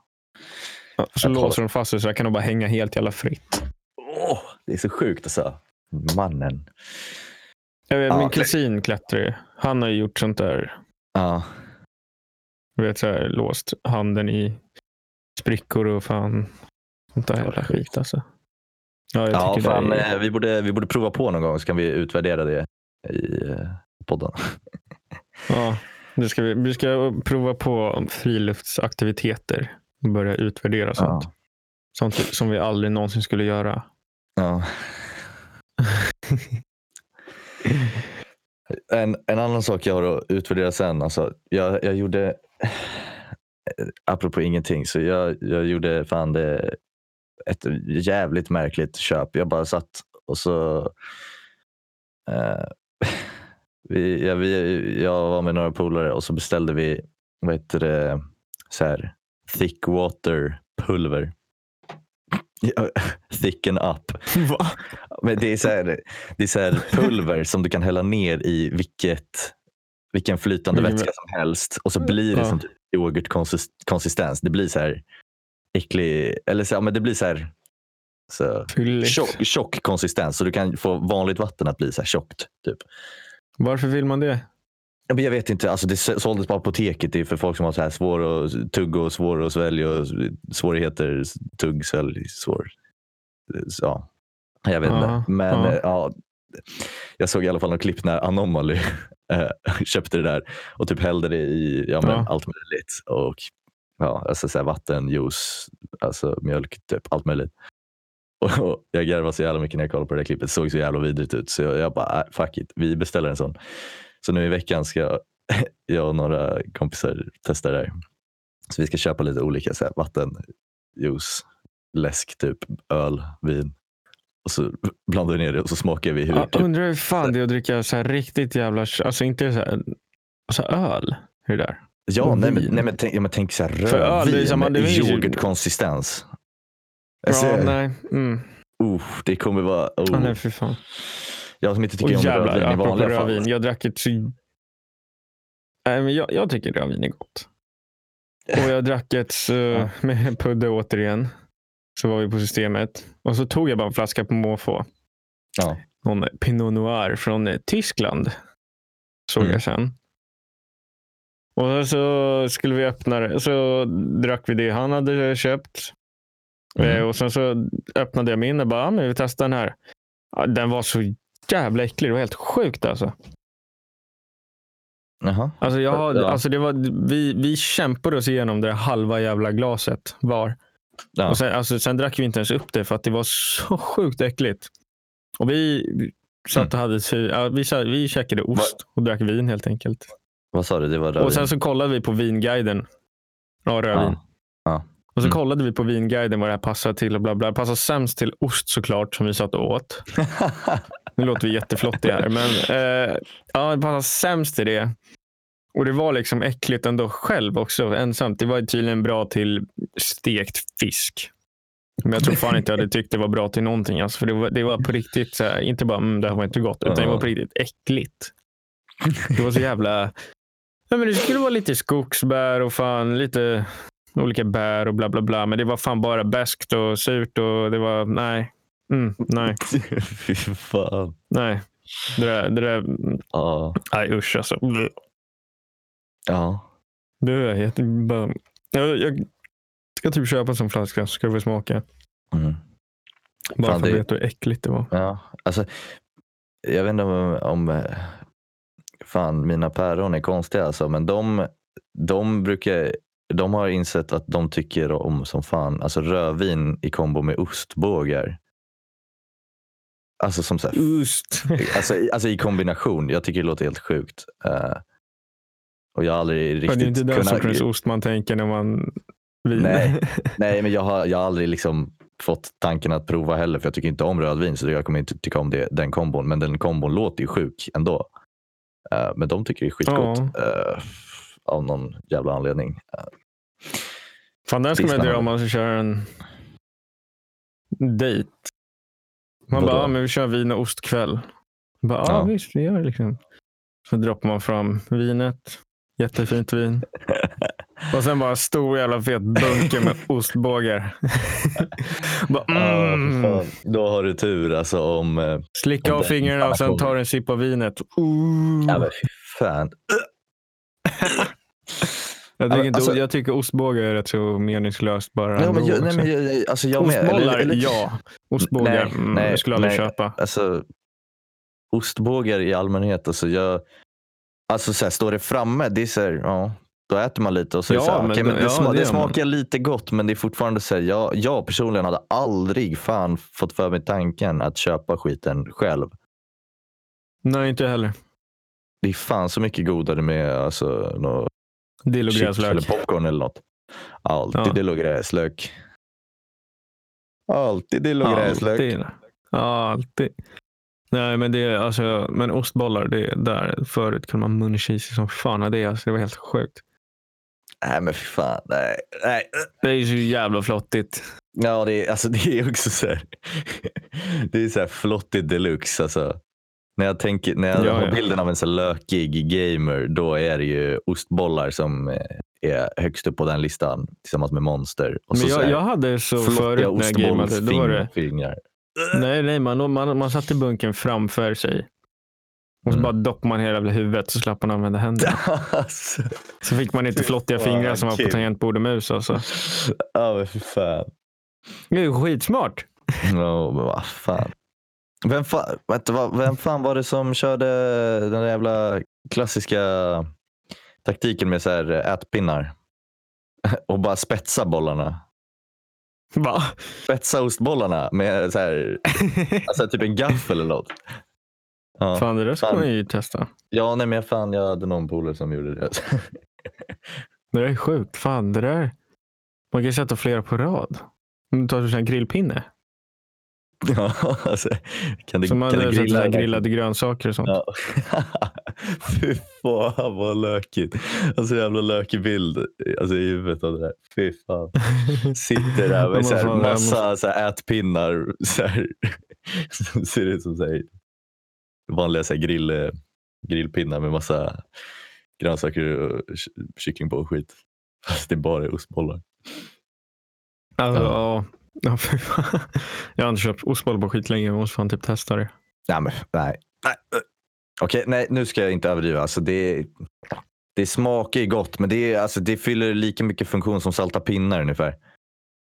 [SPEAKER 2] Ja, Så
[SPEAKER 1] Jag tar-
[SPEAKER 2] låser de fast sig så där kan de bara hänga helt jävla fritt.
[SPEAKER 1] Åh, det är så sjukt alltså. Mannen.
[SPEAKER 2] Jag vet,
[SPEAKER 1] Ja,
[SPEAKER 2] Eh, min
[SPEAKER 1] det-
[SPEAKER 2] kusin klättrar ju. Han har ju gjort sånt där.
[SPEAKER 1] Ja,
[SPEAKER 2] Du vet, så här, låst handen i sprickor och fan. Sånt där
[SPEAKER 1] Ja,
[SPEAKER 2] jävla
[SPEAKER 1] det är
[SPEAKER 2] skit alltså. Ja, jag
[SPEAKER 1] ja
[SPEAKER 2] tycker
[SPEAKER 1] fan,
[SPEAKER 2] det är...
[SPEAKER 1] eh, vi, borde, vi borde prova på någon gång så kan vi utvärdera det i eh, podden.
[SPEAKER 2] Ja, det ska vi, vi ska prova på friluftsaktiviteter och börja utvärdera sånt.
[SPEAKER 1] Ja.
[SPEAKER 2] Sånt som vi aldrig någonsin
[SPEAKER 1] *laughs*
[SPEAKER 2] skulle göra.
[SPEAKER 1] Ja. en, en annan sak jag har att utvärdera sen. Alltså, jag, jag gjorde, apropå ingenting, så jag, jag gjorde fan det, ett jävligt märkligt köp. Jag bara satt och så... Eh, *laughs* vi, ja, vi, jag var med några polare och så beställde vi vad heter det, så här, thick water pulver. *laughs* Ja, Thicken up.
[SPEAKER 2] Va?
[SPEAKER 1] Men det är så här, det är så här pulver som du kan hälla ner i vilket, vilken flytande
[SPEAKER 2] Vilken
[SPEAKER 1] vätska som helst och så blir det
[SPEAKER 2] Ja.
[SPEAKER 1] som typ yoghurtkonsistens. Det blir så här äcklig, eller så, ja, men det blir så här så,
[SPEAKER 2] Fylligt.
[SPEAKER 1] tjock, tjock konsistens så du kan få vanligt vatten att bli så här tjockt. Typ.
[SPEAKER 2] Varför vill man det?
[SPEAKER 1] Ja, men Jag vet inte, alltså det s- såldes på apoteket. Det är för folk som har så här svår och tugga och svår och svälj och s- svårigheter. s- Tugg, svälj, svår. Så, Ja, jag vet
[SPEAKER 2] Ja,
[SPEAKER 1] inte. Men
[SPEAKER 2] ja.
[SPEAKER 1] eh, ja, jag såg i alla fall någon klipp när Anomaly eh, *laughs* köpte det där och typ hällde det i ja, men
[SPEAKER 2] Ja.
[SPEAKER 1] allt möjligt. Och ja, alltså så här vatten, juice, alltså mjölk, typ allt möjligt. *laughs* Och jag garvade så jävla mycket när jag kollade på det där klippet. Det såg så jävla vidrigt ut. Så jag, jag bara, äh, fuck it, vi beställer en sån. Så nu i veckan ska *laughs* jag och några kompisar testa det där. Så vi ska köpa lite olika så här, vatten, juice, läsk, typ öl, vin. Och så *laughs* blandar vi ner det och så smakar vi hur
[SPEAKER 2] Ja,
[SPEAKER 1] typ,
[SPEAKER 2] undrar hur fan det är att dricka så här riktigt jävla, alltså inte så här, så här öl. Hur det där.
[SPEAKER 1] Ja,
[SPEAKER 2] Och
[SPEAKER 1] nej men,
[SPEAKER 2] vin.
[SPEAKER 1] nej, men tänk, ja, men tänk så här
[SPEAKER 2] För öl, det är
[SPEAKER 1] rödvin
[SPEAKER 2] samma- det
[SPEAKER 1] i
[SPEAKER 2] finns ju-
[SPEAKER 1] yoghurtkonsistens.
[SPEAKER 2] Ja,
[SPEAKER 1] Alltså,
[SPEAKER 2] nej. Mm.
[SPEAKER 1] oh, det kommer vara...
[SPEAKER 2] Ja,
[SPEAKER 1] Oh.
[SPEAKER 2] nej, fy fan.
[SPEAKER 1] Jag som inte tycker
[SPEAKER 2] Åh,
[SPEAKER 1] om
[SPEAKER 2] jävlar,
[SPEAKER 1] rödvin i
[SPEAKER 2] apropå
[SPEAKER 1] vanliga fall.
[SPEAKER 2] rödvin. Jag drack ett... sy- Nej, men jag, jag tycker rödvin är gott. Och jag drack ett
[SPEAKER 1] *laughs*
[SPEAKER 2] eh, med Pudde återigen. Så var vi på systemet. Och så tog jag bara en flaska på måfå.
[SPEAKER 1] Ja.
[SPEAKER 2] Någon Pinot Noir från eh, Tyskland. Såg
[SPEAKER 1] Mm.
[SPEAKER 2] jag sen. Och så skulle vi öppna det. Så drack vi det han hade köpt.
[SPEAKER 1] Mm.
[SPEAKER 2] Eh, Och sen så öppnade jag min och bara, "Ja, men vi testar den här. Ja, Den var så jävla äcklig. Det var helt sjukt alltså.
[SPEAKER 1] Jaha.
[SPEAKER 2] Alltså, jag, har-
[SPEAKER 1] Ja.
[SPEAKER 2] alltså det var, vi, vi kämpade oss igenom det halva jävla glaset var.
[SPEAKER 1] Ja.
[SPEAKER 2] Och sen, alltså, sen drack vi inte ens upp det för att det var så *laughs* sjukt äckligt. Och vi satt och hade, ja, vi, sa- vi käkade ost och drack vin helt enkelt.
[SPEAKER 1] Vad sa du? Det var rödvin?
[SPEAKER 2] Och sen så kollade vi på vinguiden. Ja, rödvin.
[SPEAKER 1] ja. Ja.
[SPEAKER 2] Och så
[SPEAKER 1] Mm.
[SPEAKER 2] kollade vi på vinguiden vad det här passar till och bla bla. Det passar sämst till ost såklart som vi satt och åt. Nu låter vi jätteflottiga här, men eh, ja, det passade sämst i det. Och det var liksom äckligt ändå själv också, ensamt. Det var tydligen bra till stekt fisk. Men jag tror fan inte jag hade tyckt det var bra till någonting. Alltså, för det var, det var på riktigt, så här, inte bara mm, det här var inte gott, utan det var på riktigt äckligt. Det var så jävla... Nej, men det skulle vara lite skogsbär och fan lite olika bär och bla bla bla. Men det var fan bara beskt och surt och det var nej. Mm, nej.
[SPEAKER 1] *laughs* Fy fan.
[SPEAKER 2] Nej, det där, det där
[SPEAKER 1] Ja.
[SPEAKER 2] nej usch alltså.
[SPEAKER 1] ja.
[SPEAKER 2] Du är jätte... bara- Jag, jag ska typ köpa en sån flaska så ska du få smaka.
[SPEAKER 1] Mm.
[SPEAKER 2] Bara
[SPEAKER 1] Fan,
[SPEAKER 2] för att
[SPEAKER 1] det-
[SPEAKER 2] veta hur äckligt det var.
[SPEAKER 1] Ja, alltså, jag vet inte om, om eh, fan, mina päron är konstiga alltså, men de, de brukar de har insett att de tycker om som fan alltså rödvin i kombo med ostbågar. Alltså som
[SPEAKER 2] *laughs*
[SPEAKER 1] så här,
[SPEAKER 2] Just.
[SPEAKER 1] alltså, i- alltså i kombination. Jag tycker det låter helt sjukt. Eh, och jag har aldrig
[SPEAKER 2] Det är ju
[SPEAKER 1] riktigt
[SPEAKER 2] inte den sortens ost man tänker när man viner.
[SPEAKER 1] Nej. Nej, men jag har, jag har aldrig liksom fått tanken att prova heller, för jag tycker inte om rödvin, så jag kommer inte tycka om det, den kombon. Men den kombon låter ju sjuk ändå. Eh, men de tycker det är skitgott eh, av någon jävla anledning. Eh,
[SPEAKER 2] Fan, den ska man
[SPEAKER 1] Sista
[SPEAKER 2] dra om man ska köra en dejt. Man
[SPEAKER 1] Vadå?
[SPEAKER 2] bara, ja, men vi kör vin och ostkväll. Bara, ja,
[SPEAKER 1] Ja.
[SPEAKER 2] visst, vi gör det liksom. Så droppar man fram vinet.
[SPEAKER 1] *laughs*
[SPEAKER 2] Jättefint vin. och sen bara en stor jävla fet bunke
[SPEAKER 1] *laughs*
[SPEAKER 2] med ostbågar. bara,
[SPEAKER 1] ja,
[SPEAKER 2] mm.
[SPEAKER 1] för Ah, fan. Då har du tur alltså om... Uh,
[SPEAKER 2] Slicka av
[SPEAKER 1] Den
[SPEAKER 2] fingrarna och sen
[SPEAKER 1] kommer.
[SPEAKER 2] tar en sipp av vinet. Ooh.
[SPEAKER 1] ja, men fy fan.
[SPEAKER 2] jag, tycker
[SPEAKER 1] men
[SPEAKER 2] inte,
[SPEAKER 1] alltså-
[SPEAKER 2] jag tycker ostbågar är rätt så meningslöst bara.
[SPEAKER 1] Nej, men,
[SPEAKER 2] ändå
[SPEAKER 1] jag, nej,
[SPEAKER 2] också.
[SPEAKER 1] men, jag- jag, alltså, jag med. Eller-
[SPEAKER 2] Ostbollar,
[SPEAKER 1] eller-
[SPEAKER 2] ja. Ostbågar,
[SPEAKER 1] Nej,
[SPEAKER 2] mm,
[SPEAKER 1] nej,
[SPEAKER 2] jag skulle aldrig
[SPEAKER 1] nej.
[SPEAKER 2] köpa.
[SPEAKER 1] alltså, ostbågar i allmänhet. Alltså, jag, alltså så här, står det framme, det är så här, ja, då äter man lite och så, är det så
[SPEAKER 2] Ja,
[SPEAKER 1] här,
[SPEAKER 2] men
[SPEAKER 1] okej, men
[SPEAKER 2] då-
[SPEAKER 1] det,
[SPEAKER 2] ja,
[SPEAKER 1] sma,
[SPEAKER 2] det
[SPEAKER 1] det,
[SPEAKER 2] gör man.
[SPEAKER 1] smakar lite gott men det är fortfarande så här, jag, jag personligen hade aldrig fan fått för mig tanken att köpa skiten själv.
[SPEAKER 2] Nej, inte jag heller.
[SPEAKER 1] Det är fan så mycket godare med alltså, nå-
[SPEAKER 2] Dill och
[SPEAKER 1] chips eller
[SPEAKER 2] gräslök.
[SPEAKER 1] popcorn eller något. Alltid
[SPEAKER 2] Ja.
[SPEAKER 1] dill och gräslök. Alltid dill och gräslök.
[SPEAKER 2] Alltid. Ja, alltid. Nej, men, det, är, alltså, men ostbollar, det är där förut kunde man munchisa som fan av det. Alltså, det var helt sjukt.
[SPEAKER 1] Nej men fy fan. Nej, nej.
[SPEAKER 2] Det är ju så jävla flottigt.
[SPEAKER 1] Ja, det är, alltså, *laughs* det är också så här. Det är så här flottigt deluxe. Alltså. När jag, tänker, när jag
[SPEAKER 2] Ja,
[SPEAKER 1] har
[SPEAKER 2] ja.
[SPEAKER 1] bilden av en så här lökig gamer, då är det ju ostbollar som eh, är högst upp på den listan tillsammans med monster. Och Alltså, så
[SPEAKER 2] men
[SPEAKER 1] så
[SPEAKER 2] jag,
[SPEAKER 1] här,
[SPEAKER 2] jag hade så förut
[SPEAKER 1] flottiga
[SPEAKER 2] när jag gameade. Då var det,
[SPEAKER 1] ostbollfingrar.
[SPEAKER 2] nej, nej, man, man, man satte bunken framför sig. Och så
[SPEAKER 1] Mm.
[SPEAKER 2] bara doppade man hela jävla huvudet så slapp man
[SPEAKER 1] *laughs*
[SPEAKER 2] använda händerna.
[SPEAKER 1] *laughs* alltså.
[SPEAKER 2] Så fick man inte
[SPEAKER 1] Fy
[SPEAKER 2] flottiga
[SPEAKER 1] fan,
[SPEAKER 2] fingrar som var på
[SPEAKER 1] kul.
[SPEAKER 2] tangentbord och mus. Alltså.
[SPEAKER 1] Ja, men för fan.
[SPEAKER 2] Det är ju skitsmart.
[SPEAKER 1] *laughs* No, men vad fan. Vem, fa- vänta, vad- vem fan var det som körde den där jävla klassiska taktiken med så här eh, ätpinnar? *laughs* Och bara spetsa bollarna.
[SPEAKER 2] Va?
[SPEAKER 1] Spetsa ostbollarna med så här, alltså typ en gaffel eller något. Ja,
[SPEAKER 2] Fan, det där ska
[SPEAKER 1] Fan.
[SPEAKER 2] man ju testa.
[SPEAKER 1] ja nej, men jag fan, jag hade någon polare som gjorde det. *laughs*
[SPEAKER 2] Det där är sjukt. Fan, det där. Man kan sätta flera på rad. Om du tar till en grillpinne.
[SPEAKER 1] ja, alltså, kan du,
[SPEAKER 2] Så man
[SPEAKER 1] kan du
[SPEAKER 2] eh, sätter så
[SPEAKER 1] grilla
[SPEAKER 2] här
[SPEAKER 1] den där?
[SPEAKER 2] grillade grönsaker och sånt.
[SPEAKER 1] Ja. *laughs* Fy fan vad lökigt. Alltså jävla lökig bild alltså, i huvudet av det där. Fy fan. Sitter där
[SPEAKER 2] Man
[SPEAKER 1] med så här, *laughs*
[SPEAKER 2] får-
[SPEAKER 1] massa så här, ätpinnar. Så här, som ser ut som så här, vanliga så här, grill, eh, grillpinnar med massa grönsaker och ky- kyckling på och skit. Fast det bara är ostbollar.
[SPEAKER 2] Alltså,
[SPEAKER 1] Ja.
[SPEAKER 2] ja. Ja, fy fan. jag har inte köpt ostboll på skitlänge. Jag måste fan typ testa det.
[SPEAKER 1] Nej, men, nej. nej. Okej, nej, nu ska jag inte överdriva. Alltså, det, det smakar ju gott, men det, är, alltså, det fyller lika mycket funktion som salta pinnar ungefär.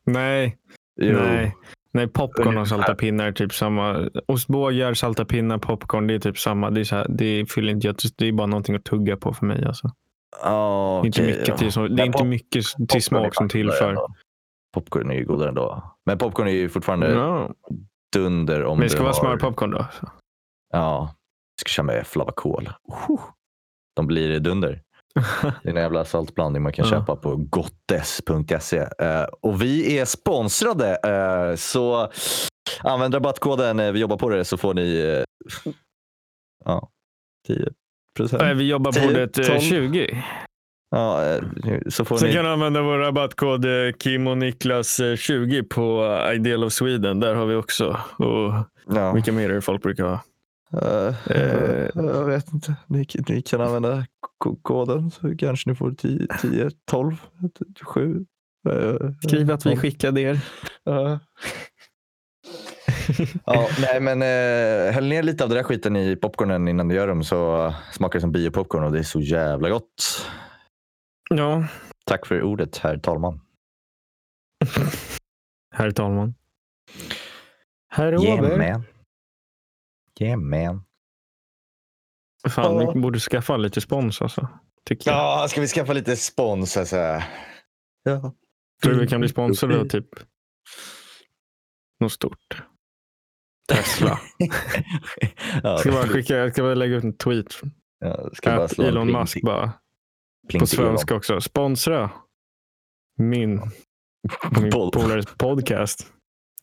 [SPEAKER 2] Nej,
[SPEAKER 1] Jo.
[SPEAKER 2] nej. Nej, popcorn och
[SPEAKER 1] Ungefär.
[SPEAKER 2] salta pinnar är typ samma. Ostbågar, salta pinnar, popcorn. Det är typ samma. Det, är så här, det fyller inte, jag- det är bara någonting att tugga på för mig. Alltså.
[SPEAKER 1] Ja,
[SPEAKER 2] Det
[SPEAKER 1] Ah, okej,
[SPEAKER 2] är inte mycket
[SPEAKER 1] ja.
[SPEAKER 2] till, som, det är
[SPEAKER 1] Men
[SPEAKER 2] inte
[SPEAKER 1] pop-
[SPEAKER 2] mycket
[SPEAKER 1] Popcorn är
[SPEAKER 2] till smak som
[SPEAKER 1] faktiskt
[SPEAKER 2] tillför.
[SPEAKER 1] ändå- Popcorn är ju godare ändå. Men popcorn är ju fortfarande
[SPEAKER 2] Ja.
[SPEAKER 1] dunder om
[SPEAKER 2] Men det ska
[SPEAKER 1] du
[SPEAKER 2] vara
[SPEAKER 1] har...
[SPEAKER 2] smörpopcorn då. Så.
[SPEAKER 1] Ja. Jag ska köra med flavakol. Oh, de blir dunder. Det är en jävla saltblandning man kan
[SPEAKER 2] Ja.
[SPEAKER 1] köpa på gottes.se. Eh, och vi är sponsrade. eh, så använd rabattkoden eh, Vi jobbar på det så får ni eh, ja, 10
[SPEAKER 2] Nej,
[SPEAKER 1] procent.
[SPEAKER 2] vi jobbar på
[SPEAKER 1] Tio,
[SPEAKER 2] bordet eh,
[SPEAKER 1] Typ tolv.
[SPEAKER 2] 20.
[SPEAKER 1] Ja, eh, så får
[SPEAKER 2] Sen
[SPEAKER 1] ni...
[SPEAKER 2] kan du använda vår rabattkod eh, Kim och Niklas eh, 20 på eh, Ideal of Sweden. Där har vi också. Och
[SPEAKER 1] Ja.
[SPEAKER 2] vilka mer är det folk brukar ha?
[SPEAKER 1] Eh,
[SPEAKER 2] Eh.
[SPEAKER 1] jag vet inte. Ni, ni kan använda ko- koden så kanske ni får 10, 10 12, 7. eh,
[SPEAKER 2] Skriv att vi skickade er.
[SPEAKER 1] ja, nej, men eh, häll ner lite av den där skiten i popcornen innan du gör dem så smakar det som biopopcorn och det är så jävla gott.
[SPEAKER 2] Ja,
[SPEAKER 1] Tack för ordet, herr talman.
[SPEAKER 2] herr talman. Herr
[SPEAKER 1] Yeah
[SPEAKER 2] Åberg.
[SPEAKER 1] man. Yeah man.
[SPEAKER 2] Fan, vi borde skaffa lite spons alltså. Tycker jag.
[SPEAKER 1] Ja, ska vi skaffa lite spons? Alltså? Ja.
[SPEAKER 2] Tror du vi kan bli sponsrade av typ något stort?
[SPEAKER 1] *laughs*
[SPEAKER 2] Tesla.
[SPEAKER 1] ja,
[SPEAKER 2] Ska bara skicka, jag ska bara lägga ut en tweet.
[SPEAKER 1] ja, ska bara
[SPEAKER 2] Att
[SPEAKER 1] slå en
[SPEAKER 2] Elon
[SPEAKER 1] pling
[SPEAKER 2] Musk
[SPEAKER 1] till-
[SPEAKER 2] bara
[SPEAKER 1] pling
[SPEAKER 2] på
[SPEAKER 1] till Elon.
[SPEAKER 2] svenska också. Sponsra min, min
[SPEAKER 1] Pod-
[SPEAKER 2] polares podcast.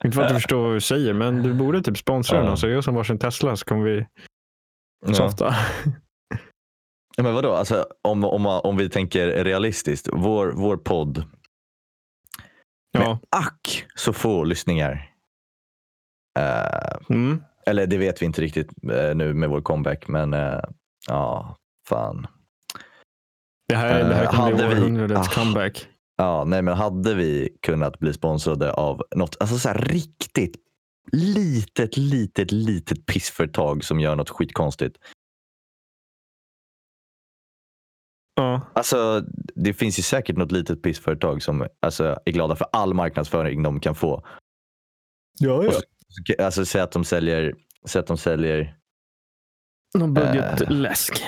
[SPEAKER 2] Inte för att du förstår vad du säger, men du borde typ sponsra
[SPEAKER 1] Äh. Ja.
[SPEAKER 2] den. Så jag som varsin Tesla så kommer vi
[SPEAKER 1] Ja. *laughs*
[SPEAKER 2] softa.
[SPEAKER 1] Ja, men vadå? Alltså, om, om, om vi tänker realistiskt. Vår, vår podd,
[SPEAKER 2] Ja.
[SPEAKER 1] ack så få lyssningar. Eh,
[SPEAKER 2] Mm.
[SPEAKER 1] eller det vet vi inte riktigt eh, nu med vår comeback. Men eh, ja, fan.
[SPEAKER 2] Det här, det här
[SPEAKER 1] Eh,
[SPEAKER 2] kommer bli
[SPEAKER 1] hade vi-
[SPEAKER 2] århundradets
[SPEAKER 1] Ah.
[SPEAKER 2] comeback.
[SPEAKER 1] Ja, nej, men hade vi kunnat bli sponsrade av något alltså så här riktigt litet, litet, litet pissföretag som gör något skitkonstigt.
[SPEAKER 2] Ja.
[SPEAKER 1] Alltså, det finns ju säkert något litet pissföretag som alltså, är glada för all marknadsföring de kan få.
[SPEAKER 2] Ja,
[SPEAKER 1] ja. Alltså säg att de säljer, säg att de säljer,
[SPEAKER 2] Någon
[SPEAKER 1] Äh.
[SPEAKER 2] budgetläsk.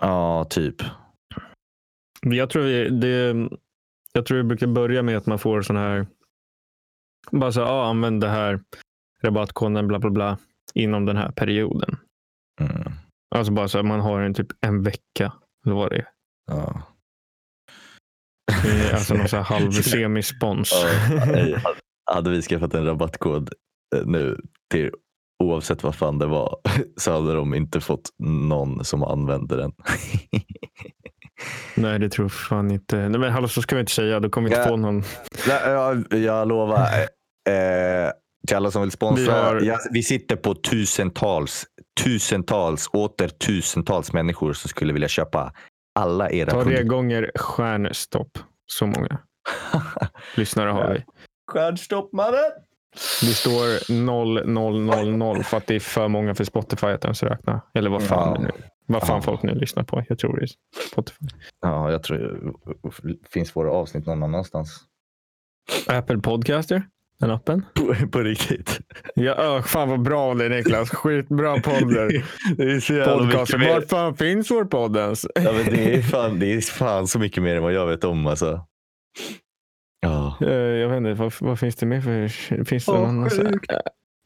[SPEAKER 1] ja typ.
[SPEAKER 2] Jag tror, vi, det, jag tror vi brukar börja med att man får sån här, bara så här, ah, använd det här rabattkoden bla bla bla inom den här perioden.
[SPEAKER 1] Mm,
[SPEAKER 2] Alltså bara så här, man har en typ en vecka. Eller vad det är.
[SPEAKER 1] ja.
[SPEAKER 2] Det är
[SPEAKER 1] *laughs*
[SPEAKER 2] Alltså någon så här halv semispons.
[SPEAKER 1] Ja, nej, hade- Hade vi skaffat en rabattkod eh, nu till oavsett vad fan det var *laughs* så hade de inte fått någon som använde den.
[SPEAKER 2] Nej, det tror jag fan inte. Nej, men hallå, så ska vi inte säga. Då kommer vi inte
[SPEAKER 1] Ja.
[SPEAKER 2] få någon.
[SPEAKER 1] Jag, jag lovar. Eh, till alla som vill sponsra.
[SPEAKER 2] Vi
[SPEAKER 1] Vi,
[SPEAKER 2] har-
[SPEAKER 1] jag, vi sitter på tusentals, tusentals, åter tusentals människor som skulle vilja köpa alla era
[SPEAKER 2] Ta det
[SPEAKER 1] produkter.
[SPEAKER 2] gånger stjärnstopp.
[SPEAKER 1] *laughs*
[SPEAKER 2] Så många lyssnare har vi.
[SPEAKER 1] Stjärnstopp mannen!
[SPEAKER 2] Det står 0000 för att det är för många för Spotify att ens räkna. Eller vad fan,
[SPEAKER 1] Ja.
[SPEAKER 2] det nu, vad fan
[SPEAKER 1] Ja.
[SPEAKER 2] folk nu lyssnar på. Jag tror det är Spotify.
[SPEAKER 1] Ja, jag tror eh, finns våra avsnitt någon annanstans.
[SPEAKER 2] Apple Podcaster, den appen.
[SPEAKER 1] På, på riktigt.
[SPEAKER 2] Ja, ö, fan vad bra det är, Niklas.
[SPEAKER 1] *laughs*
[SPEAKER 2] Skitbra podder.
[SPEAKER 1] Det är så jävla mycket
[SPEAKER 2] Podcaster. Var
[SPEAKER 1] mer.
[SPEAKER 2] fan finns vår podd ens?
[SPEAKER 1] Ja, men det, är fan, det är fan så mycket mer än vad jag vet om alltså. Ja.
[SPEAKER 2] Eh, Jag vet inte, vad, vad finns det mer för... Finns det någon
[SPEAKER 1] Åh,
[SPEAKER 2] annan? så-
[SPEAKER 1] sjukt.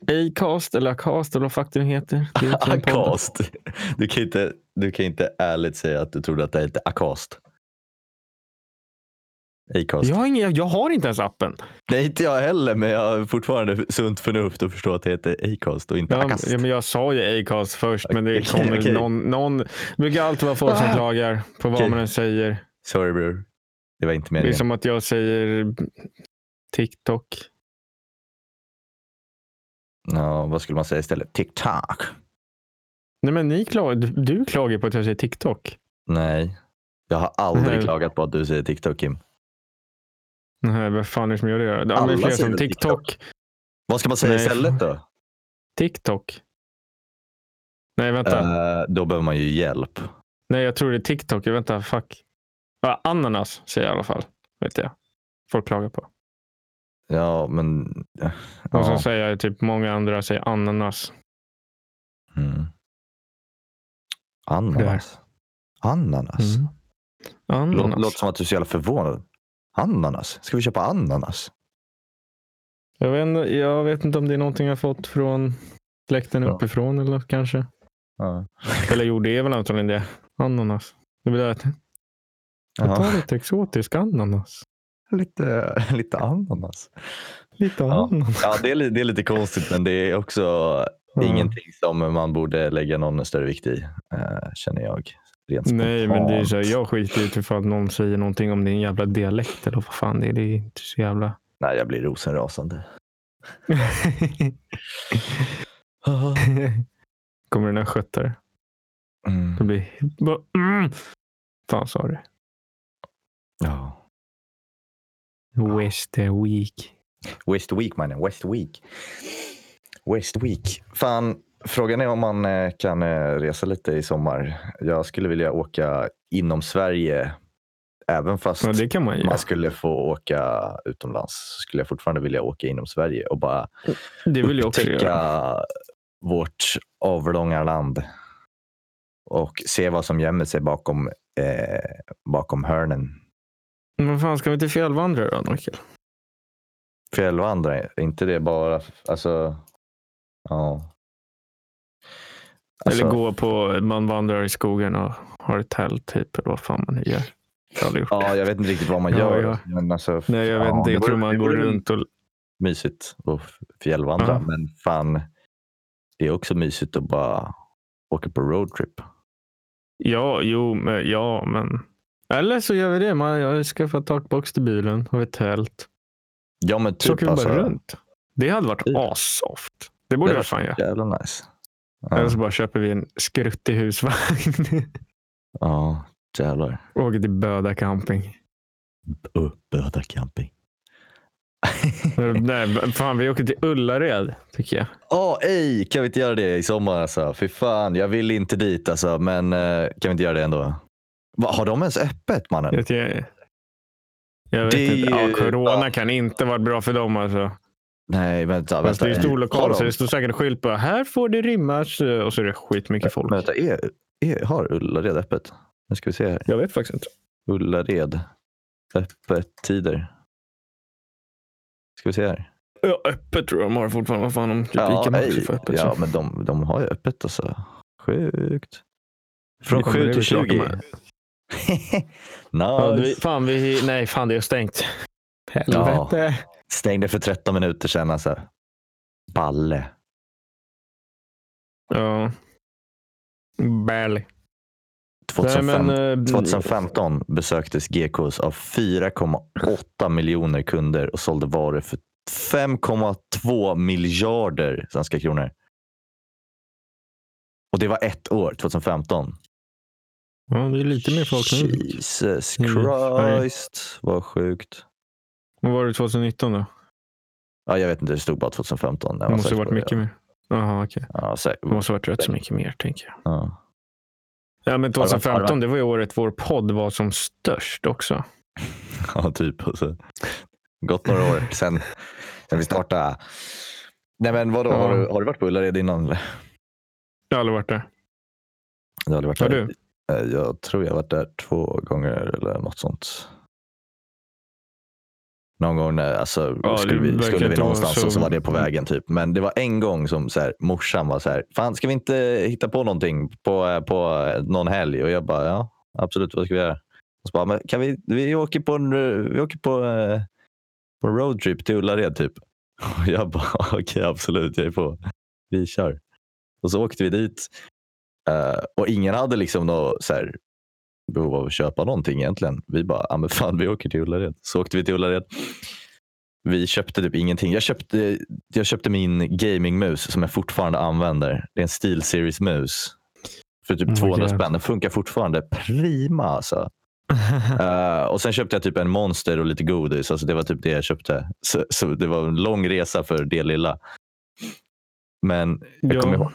[SPEAKER 2] Eh, Acast eller Acast eller vad fuck den heter. Det är också en podd.
[SPEAKER 1] Akast. Du kan, inte, du kan inte ärligt säga att du trodde att det hette Akast. Acast.
[SPEAKER 2] Jag har, ingen, jag har inte ens appen.
[SPEAKER 1] Nej, inte jag heller, men jag har fortfarande sunt förnuft att förstå att det heter Acast och inte
[SPEAKER 2] Ja,
[SPEAKER 1] Akast.
[SPEAKER 2] ja, men jag sa ju Acast först, men det
[SPEAKER 1] Okej,
[SPEAKER 2] kommer
[SPEAKER 1] okej.
[SPEAKER 2] någon... någon det brukar alltid vara folk som
[SPEAKER 1] Ah.
[SPEAKER 2] klagar på vad
[SPEAKER 1] Okej.
[SPEAKER 2] man än säger.
[SPEAKER 1] Sorry bror. Det var inte
[SPEAKER 2] Det är
[SPEAKER 1] meningen.
[SPEAKER 2] som att jag säger TikTok.
[SPEAKER 1] Ja, vad skulle man säga istället? TikTok.
[SPEAKER 2] Nej, men ni klag, du, du klagar på att jag säger TikTok.
[SPEAKER 1] Nej. Jag har aldrig
[SPEAKER 2] Nej.
[SPEAKER 1] klagat på att du säger TikTok, Kim.
[SPEAKER 2] Nej, vad fan är det som gör det? Ja, men
[SPEAKER 1] Alla
[SPEAKER 2] fler
[SPEAKER 1] säger
[SPEAKER 2] som
[SPEAKER 1] väl
[SPEAKER 2] TikTok.
[SPEAKER 1] TikTok. Vad ska man säga
[SPEAKER 2] Nej.
[SPEAKER 1] istället då?
[SPEAKER 2] TikTok. Nej, vänta.
[SPEAKER 1] Eh, då behöver man ju hjälp.
[SPEAKER 2] Nej, jag tror det är TikTok. Vänta, fuck. Ja, ananas säger jag i alla fall. Vet jag. Folk klagar på.
[SPEAKER 1] Ja, men... Ja.
[SPEAKER 2] Och så säger jag typ många andra säger ananas.
[SPEAKER 1] Mm. Ananas. Ananas?
[SPEAKER 2] Mm. Ananas.
[SPEAKER 1] Lå, låter som att du är så jävla förvånad. Ananas? Ska vi köpa ananas?
[SPEAKER 2] Jag, vet, inte- jag vet inte om det är någonting jag fått från släkten
[SPEAKER 1] Ja.
[SPEAKER 2] uppifrån eller något, kanske.
[SPEAKER 1] Ja.
[SPEAKER 2] Eller jo, det är väl antagligen det. Ananas. Det blir att jag
[SPEAKER 1] Jaha.
[SPEAKER 2] tar lite exotisk ananas.
[SPEAKER 1] Lite, lite ananas.
[SPEAKER 2] Lite
[SPEAKER 1] Ja.
[SPEAKER 2] ananas.
[SPEAKER 1] Ja, det är, li- det är lite konstigt, men det är också ingenting som man borde lägga någon större vikt i, eh, känner jag. Rent
[SPEAKER 2] Nej, men det är så här,
[SPEAKER 1] spontant.
[SPEAKER 2] jag skiter typ i ifall någon säger någonting om din jävla dialekt eller vad fan det är. Det är inte så jävla... *laughs*
[SPEAKER 1] Nej, jag blir rosenrasande.
[SPEAKER 2] Kommer den här skötare.
[SPEAKER 1] Mm.
[SPEAKER 2] Det blir... Bara, mm. Fan sa du?
[SPEAKER 1] Ja.
[SPEAKER 2] West Week.
[SPEAKER 1] West Week, mannen. West Week. West Week. Fan, frågan är om man eh, kan eh, resa lite i sommar. Jag skulle vilja åka inom Sverige, även fast
[SPEAKER 2] Ja, det kan man göra.
[SPEAKER 1] man skulle få åka utomlands. så Skulle jag fortfarande vilja åka inom Sverige och bara
[SPEAKER 2] Det vill jag också göra.
[SPEAKER 1] upptäcka vårt avlånga land och se vad som gömmer sig bakom, eh, bakom hörnen.
[SPEAKER 2] Men vad fan, ska vi inte fjällvandra då, Norkel?
[SPEAKER 1] Fjällvandra, är inte det bara... Alltså, ja. Alltså,
[SPEAKER 2] Eller gå på, man vandrar i skogen och har ett tält typ, eller vad fan man gör. Jag har aldrig gjort
[SPEAKER 1] Ja,
[SPEAKER 2] det.
[SPEAKER 1] jag vet inte riktigt vad man
[SPEAKER 2] Ja,
[SPEAKER 1] gör.
[SPEAKER 2] ja.
[SPEAKER 1] Men alltså,
[SPEAKER 2] Nej, jag vet
[SPEAKER 1] ja,
[SPEAKER 2] inte.
[SPEAKER 1] det
[SPEAKER 2] Jag tror
[SPEAKER 1] vore- det
[SPEAKER 2] man går
[SPEAKER 1] vore
[SPEAKER 2] runt och...
[SPEAKER 1] Mysigt att fjällvandra,
[SPEAKER 2] Ja.
[SPEAKER 1] men fan. Det är också mysigt att bara åka på roadtrip.
[SPEAKER 2] Ja, jo, men, ja, men... Eller så gör vi det. Man, jag skaffar takbox till bilen och ett tält.
[SPEAKER 1] Ja, men typ
[SPEAKER 2] Så åker vi
[SPEAKER 1] alltså.
[SPEAKER 2] bara runt. Det hade varit
[SPEAKER 1] Typ.
[SPEAKER 2] assoft. Det borde
[SPEAKER 1] Det
[SPEAKER 2] jag fan göra.
[SPEAKER 1] Jävla nice. Ja,
[SPEAKER 2] Eller så bara köper vi en skruttig husvagn *laughs*
[SPEAKER 1] ja jävlar.
[SPEAKER 2] och åker till
[SPEAKER 1] *laughs*
[SPEAKER 2] Böda camping.
[SPEAKER 1] Oh, Böda camping.
[SPEAKER 2] Nej, fan, vi åker till Ullared tycker jag.
[SPEAKER 1] Åh, ej! Kan vi inte göra det i sommar? Alltså? Fy fan, jag vill inte dit alltså, men eh, kan vi inte göra det ändå? Va, har de ens öppet mannen?
[SPEAKER 2] Jag, jag, jag vet
[SPEAKER 1] Det är
[SPEAKER 2] inte. Ja,
[SPEAKER 1] ju-
[SPEAKER 2] corona
[SPEAKER 1] ja.
[SPEAKER 2] kan inte varit bra för dem alltså.
[SPEAKER 1] Nej, vänta.
[SPEAKER 2] Fast
[SPEAKER 1] vänta.
[SPEAKER 2] det är ju stor
[SPEAKER 1] Har
[SPEAKER 2] lokal
[SPEAKER 1] de?
[SPEAKER 2] så det står säkert en skylt på här får det rymmas och så är det skitmycket
[SPEAKER 1] Men
[SPEAKER 2] folk.
[SPEAKER 1] Vänta, är, är, har Ullared öppet? Nu ska vi se här.
[SPEAKER 2] Jag vet faktiskt inte.
[SPEAKER 1] Ullared. Öppettider. Ska vi se här.
[SPEAKER 2] Ja, öppet tror jag de har fortfarande. Vad fan om typ
[SPEAKER 1] Ja,
[SPEAKER 2] Ica Maxi
[SPEAKER 1] ej.
[SPEAKER 2] får öppet.
[SPEAKER 1] ja
[SPEAKER 2] så.
[SPEAKER 1] men de, de har ju öppet alltså. Sjukt. Från
[SPEAKER 2] Vi kommer
[SPEAKER 1] 7
[SPEAKER 2] över
[SPEAKER 1] till
[SPEAKER 2] klockan
[SPEAKER 1] 20. *laughs*
[SPEAKER 2] här. Ja, vi,
[SPEAKER 1] nice.
[SPEAKER 2] fan, vi, nej, fan det är stängt.
[SPEAKER 1] Ja.
[SPEAKER 2] Helvete.
[SPEAKER 1] Stängde för 13 minuter sedan alltså. Balle.
[SPEAKER 2] Ja. Barely.
[SPEAKER 1] 2005,
[SPEAKER 2] eh,
[SPEAKER 1] 2015 besöktes GKs av 4,8 miljoner kunder och sålde varor för 5,2 miljarder svenska kronor. Och det var ett år, 2015.
[SPEAKER 2] Ja, det är lite mer folk nu.
[SPEAKER 1] Jesus
[SPEAKER 2] Mm, Sverige.
[SPEAKER 1] Christ, vad sjukt.
[SPEAKER 2] Vad var det 2019 då?
[SPEAKER 1] Ja, jag vet inte, det stod bara 2015. Jag
[SPEAKER 2] Det
[SPEAKER 1] var
[SPEAKER 2] måste
[SPEAKER 1] säker
[SPEAKER 2] ha
[SPEAKER 1] på
[SPEAKER 2] varit
[SPEAKER 1] det.
[SPEAKER 2] mycket mer. Jaha, okej.
[SPEAKER 1] Ja, säker-
[SPEAKER 2] Det måste ha varit rätt så mycket mer, tänker jag.
[SPEAKER 1] ja.
[SPEAKER 2] Ja, men
[SPEAKER 1] varit- har det varit-
[SPEAKER 2] 2015, det var ju året vår podd var som störst också.
[SPEAKER 1] Ja, typ. Och så- Gått några år sen, sen vi startade. Nej, men vadå,
[SPEAKER 2] Ja.
[SPEAKER 1] har, du, har du varit på Ullared innan? eller?
[SPEAKER 2] Jag har aldrig
[SPEAKER 1] *laughs*
[SPEAKER 2] varit där.
[SPEAKER 1] Jag har aldrig varit
[SPEAKER 2] Har
[SPEAKER 1] där.
[SPEAKER 2] du?
[SPEAKER 1] Eh, Jag tror jag har varit där två gånger eller något sånt. Någon gång när, alltså,
[SPEAKER 2] Ja, det
[SPEAKER 1] skulle vi,
[SPEAKER 2] verkar
[SPEAKER 1] skulle vi
[SPEAKER 2] inte vara
[SPEAKER 1] någonstans
[SPEAKER 2] så-
[SPEAKER 1] och så var det på vägen. typ. Men det var en gång som så här, morsan var så här, fan ska vi inte hitta på någonting på, eh, på eh, någon helg? Och jag bara, ja absolut, vad ska vi göra? Och så bara, men kan vi, vi åker på en, eh, vi åker på, eh, på en roadtrip till Ullared typ. *laughs* Och jag bara, *laughs* okej absolut, jag är på. Vi kör. Och så åkte vi dit eh, och ingen hade liksom något så här, behov av att köpa någonting egentligen. Vi bara, ah, men fan vi åker till Ullared. Så åkte vi till Ullared. Vi köpte typ ingenting. Jag köpte, jag köpte min gamingmus som jag fortfarande använder. Det är en SteelSeries-mus. för typ
[SPEAKER 2] Mm,
[SPEAKER 1] 200
[SPEAKER 2] okej.
[SPEAKER 1] spänn. Den funkar fortfarande prima alltså. Eh, och sen köpte jag typ en monster och lite godis. Alltså det var typ det jag köpte. Så, så det var en lång resa för det lilla. Men jag kommer ihåg.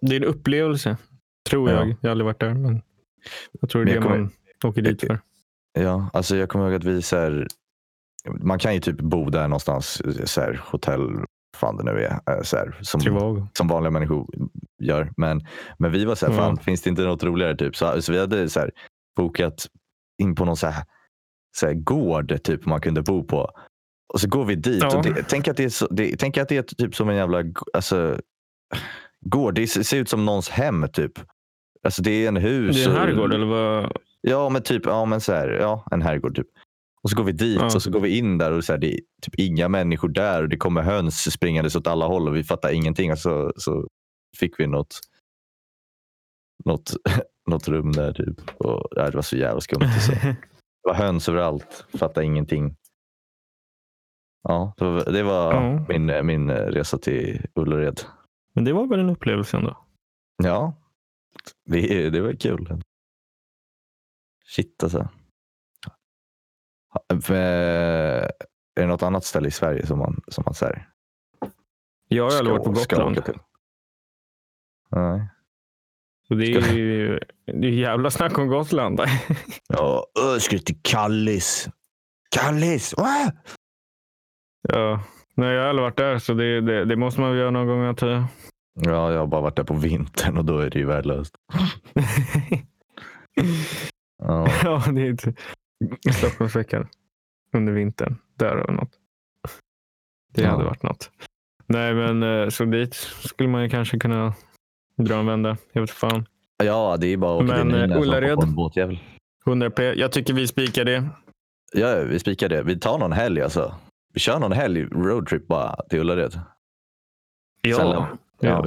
[SPEAKER 2] Det är en upplevelse. Tror
[SPEAKER 1] Ja.
[SPEAKER 2] jag. Jag har aldrig varit där. Men jag tror
[SPEAKER 1] Men
[SPEAKER 2] det är
[SPEAKER 1] jag
[SPEAKER 2] det man åker dit för.
[SPEAKER 1] Ja, alltså jag kommer ihåg att vi så här, Man kan ju typ bo där någonstans. Så här, hotell, fan det nu är. eh, Så här, som,
[SPEAKER 2] Trivago.
[SPEAKER 1] som vanliga människor gör. Men, men vi var så här,
[SPEAKER 2] Ja.
[SPEAKER 1] fan finns det inte något roligare? Typ? Så, så vi hade så här, bokat in på någon så här, så här, gård typ man kunde bo på. Och så går vi dit.
[SPEAKER 2] Ja.
[SPEAKER 1] Och det, tänk, att det är så, det, tänk att det är typ som en jävla g- alltså, gård. Det ser ser ut som någons hem typ. Alltså det är en hus.
[SPEAKER 2] Det är en
[SPEAKER 1] och-
[SPEAKER 2] herrgård
[SPEAKER 1] *laughs*
[SPEAKER 2] eller vad?
[SPEAKER 1] Ja, men typ ja, men så här, ja, en herrgård. Typ. Och så går vi dit
[SPEAKER 2] Ja.
[SPEAKER 1] och så går vi in där och så här, det är typ inga människor där och det kommer höns springandes åt alla håll och vi fattar ingenting. Och så, så fick vi något, något, *laughs* något rum där. Typ. Och, ja, det var så jävla
[SPEAKER 2] *laughs*
[SPEAKER 1] skumt. Alltså. Det var höns överallt. Fattade ingenting. Ja, det var, det var
[SPEAKER 2] Ja.
[SPEAKER 1] min, min resa till Ullared.
[SPEAKER 2] Men det var väl en upplevelse ändå.
[SPEAKER 1] Ja, det, det var kul. Shit alltså. Ha- eh, Är det något annat ställe i Sverige som man, som man så här,
[SPEAKER 2] Jag har aldrig varit på
[SPEAKER 1] ska
[SPEAKER 2] Gotland.
[SPEAKER 1] åka till? Nej.
[SPEAKER 2] Så det är ju det är jävla snack om Gotland. *laughs*
[SPEAKER 1] Ja, jag ska till Kallis. Kallis! Ah!
[SPEAKER 2] ja. Nej, jag har aldrig varit där så det, det, det måste man väl göra någon gång antar jag.
[SPEAKER 1] Ja, jag har bara varit där på vintern och då är det ju
[SPEAKER 2] *laughs*
[SPEAKER 1] värdelöst. Ja,
[SPEAKER 2] *laughs* ja, det är inte Stockholmsveckan under vintern. Där har vi något. Det
[SPEAKER 1] Ja.
[SPEAKER 2] hade varit något. Nej, men eh, så dit skulle man ju kanske kunna dra en vända. Jag vet fan.
[SPEAKER 1] ja det är bara att åka
[SPEAKER 2] Men,
[SPEAKER 1] till
[SPEAKER 2] eh,
[SPEAKER 1] Nynäs och hoppa
[SPEAKER 2] Ullared?
[SPEAKER 1] på en båtjävel.
[SPEAKER 2] 100 p. Jag tycker vi spikar det.
[SPEAKER 1] Ja, vi spikar det. Vi tar någon helg alltså. Vi kör någon helg roadtrip bara till Ullared. Sällan.
[SPEAKER 2] Ja.
[SPEAKER 1] Ja.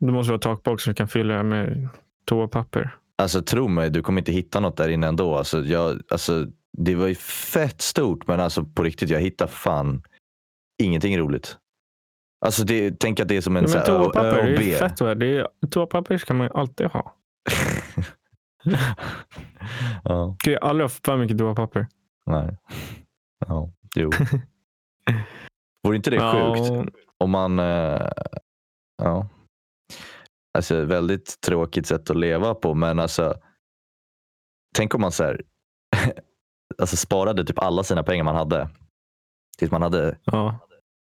[SPEAKER 2] Det måste vara takbox som kan fylla det här med toapapper.
[SPEAKER 1] Alltså tro mig, du kommer inte hitta något där inne ändå. Alltså, jag, alltså, det var ju fett stort, men alltså på riktigt, jag hittar fan ingenting roligt. Alltså det, tänk att det är som en
[SPEAKER 2] Men,
[SPEAKER 1] så
[SPEAKER 2] men
[SPEAKER 1] här, Ö, Ö
[SPEAKER 2] toapapper,
[SPEAKER 1] och
[SPEAKER 2] det är ju
[SPEAKER 1] B.
[SPEAKER 2] fett. va? Det är, toapapper ska man ju alltid ha.
[SPEAKER 1] ja,
[SPEAKER 2] Gud, jag har aldrig haft för mycket toapapper.
[SPEAKER 1] nej. Ja,
[SPEAKER 2] *laughs*
[SPEAKER 1] jo. Vore inte det sjukt?
[SPEAKER 2] Ja,
[SPEAKER 1] Om man... eh, ja. Alltså väldigt tråkigt sätt att leva på, men alltså. Tänk om man så här, *laughs* alltså sparade typ alla sina pengar man hade. Tills man hade
[SPEAKER 2] ja.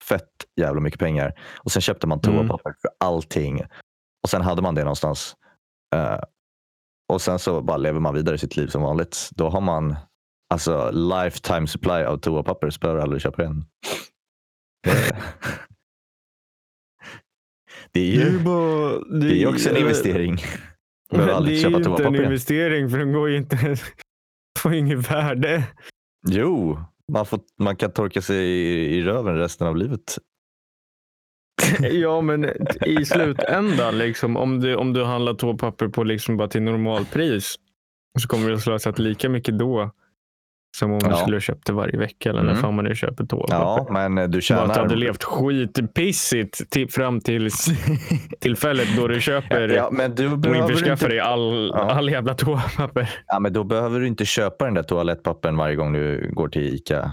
[SPEAKER 1] fett jävla mycket pengar. Och sen köpte man
[SPEAKER 2] Mm.
[SPEAKER 1] toapapper för allting. Och sen hade man det någonstans. Eh, och sen så bara lever man vidare sitt liv som vanligt. Då har man alltså lifetime supply av toapapper. Så behöver du aldrig köpa igen. Eh, *laughs* det är ju
[SPEAKER 2] bara,
[SPEAKER 1] det är ju också en
[SPEAKER 2] *laughs*
[SPEAKER 1] investering. Du behöver aldrig
[SPEAKER 2] det är
[SPEAKER 1] köpa
[SPEAKER 2] ju inte en
[SPEAKER 1] toapapper igen.
[SPEAKER 2] investering för den går ju inte... *laughs* får inget värde.
[SPEAKER 1] Jo, man, får, man kan torka sig i, i röven resten av livet.
[SPEAKER 2] *laughs* Ja, men i slutändan, liksom, om, du, om du handlar toapapper på liksom bara till normalpris så kommer du att slösa lika mycket då som om du
[SPEAKER 1] Ja.
[SPEAKER 2] skulle ha köpt det varje vecka eller när
[SPEAKER 1] Mm.
[SPEAKER 2] fan man nu köper toapapper.
[SPEAKER 1] Ja, men eh, du
[SPEAKER 2] Bara att du
[SPEAKER 1] tjänar
[SPEAKER 2] hade levt skitpissigt till, fram till *laughs* tillfället då du köper
[SPEAKER 1] Ja, men du
[SPEAKER 2] och
[SPEAKER 1] behöver
[SPEAKER 2] införskaffar
[SPEAKER 1] inte
[SPEAKER 2] dig all,
[SPEAKER 1] Ja.
[SPEAKER 2] all jävla toapapper.
[SPEAKER 1] Ja, men då behöver du inte köpa den där toalettpappern varje gång du går till Ica.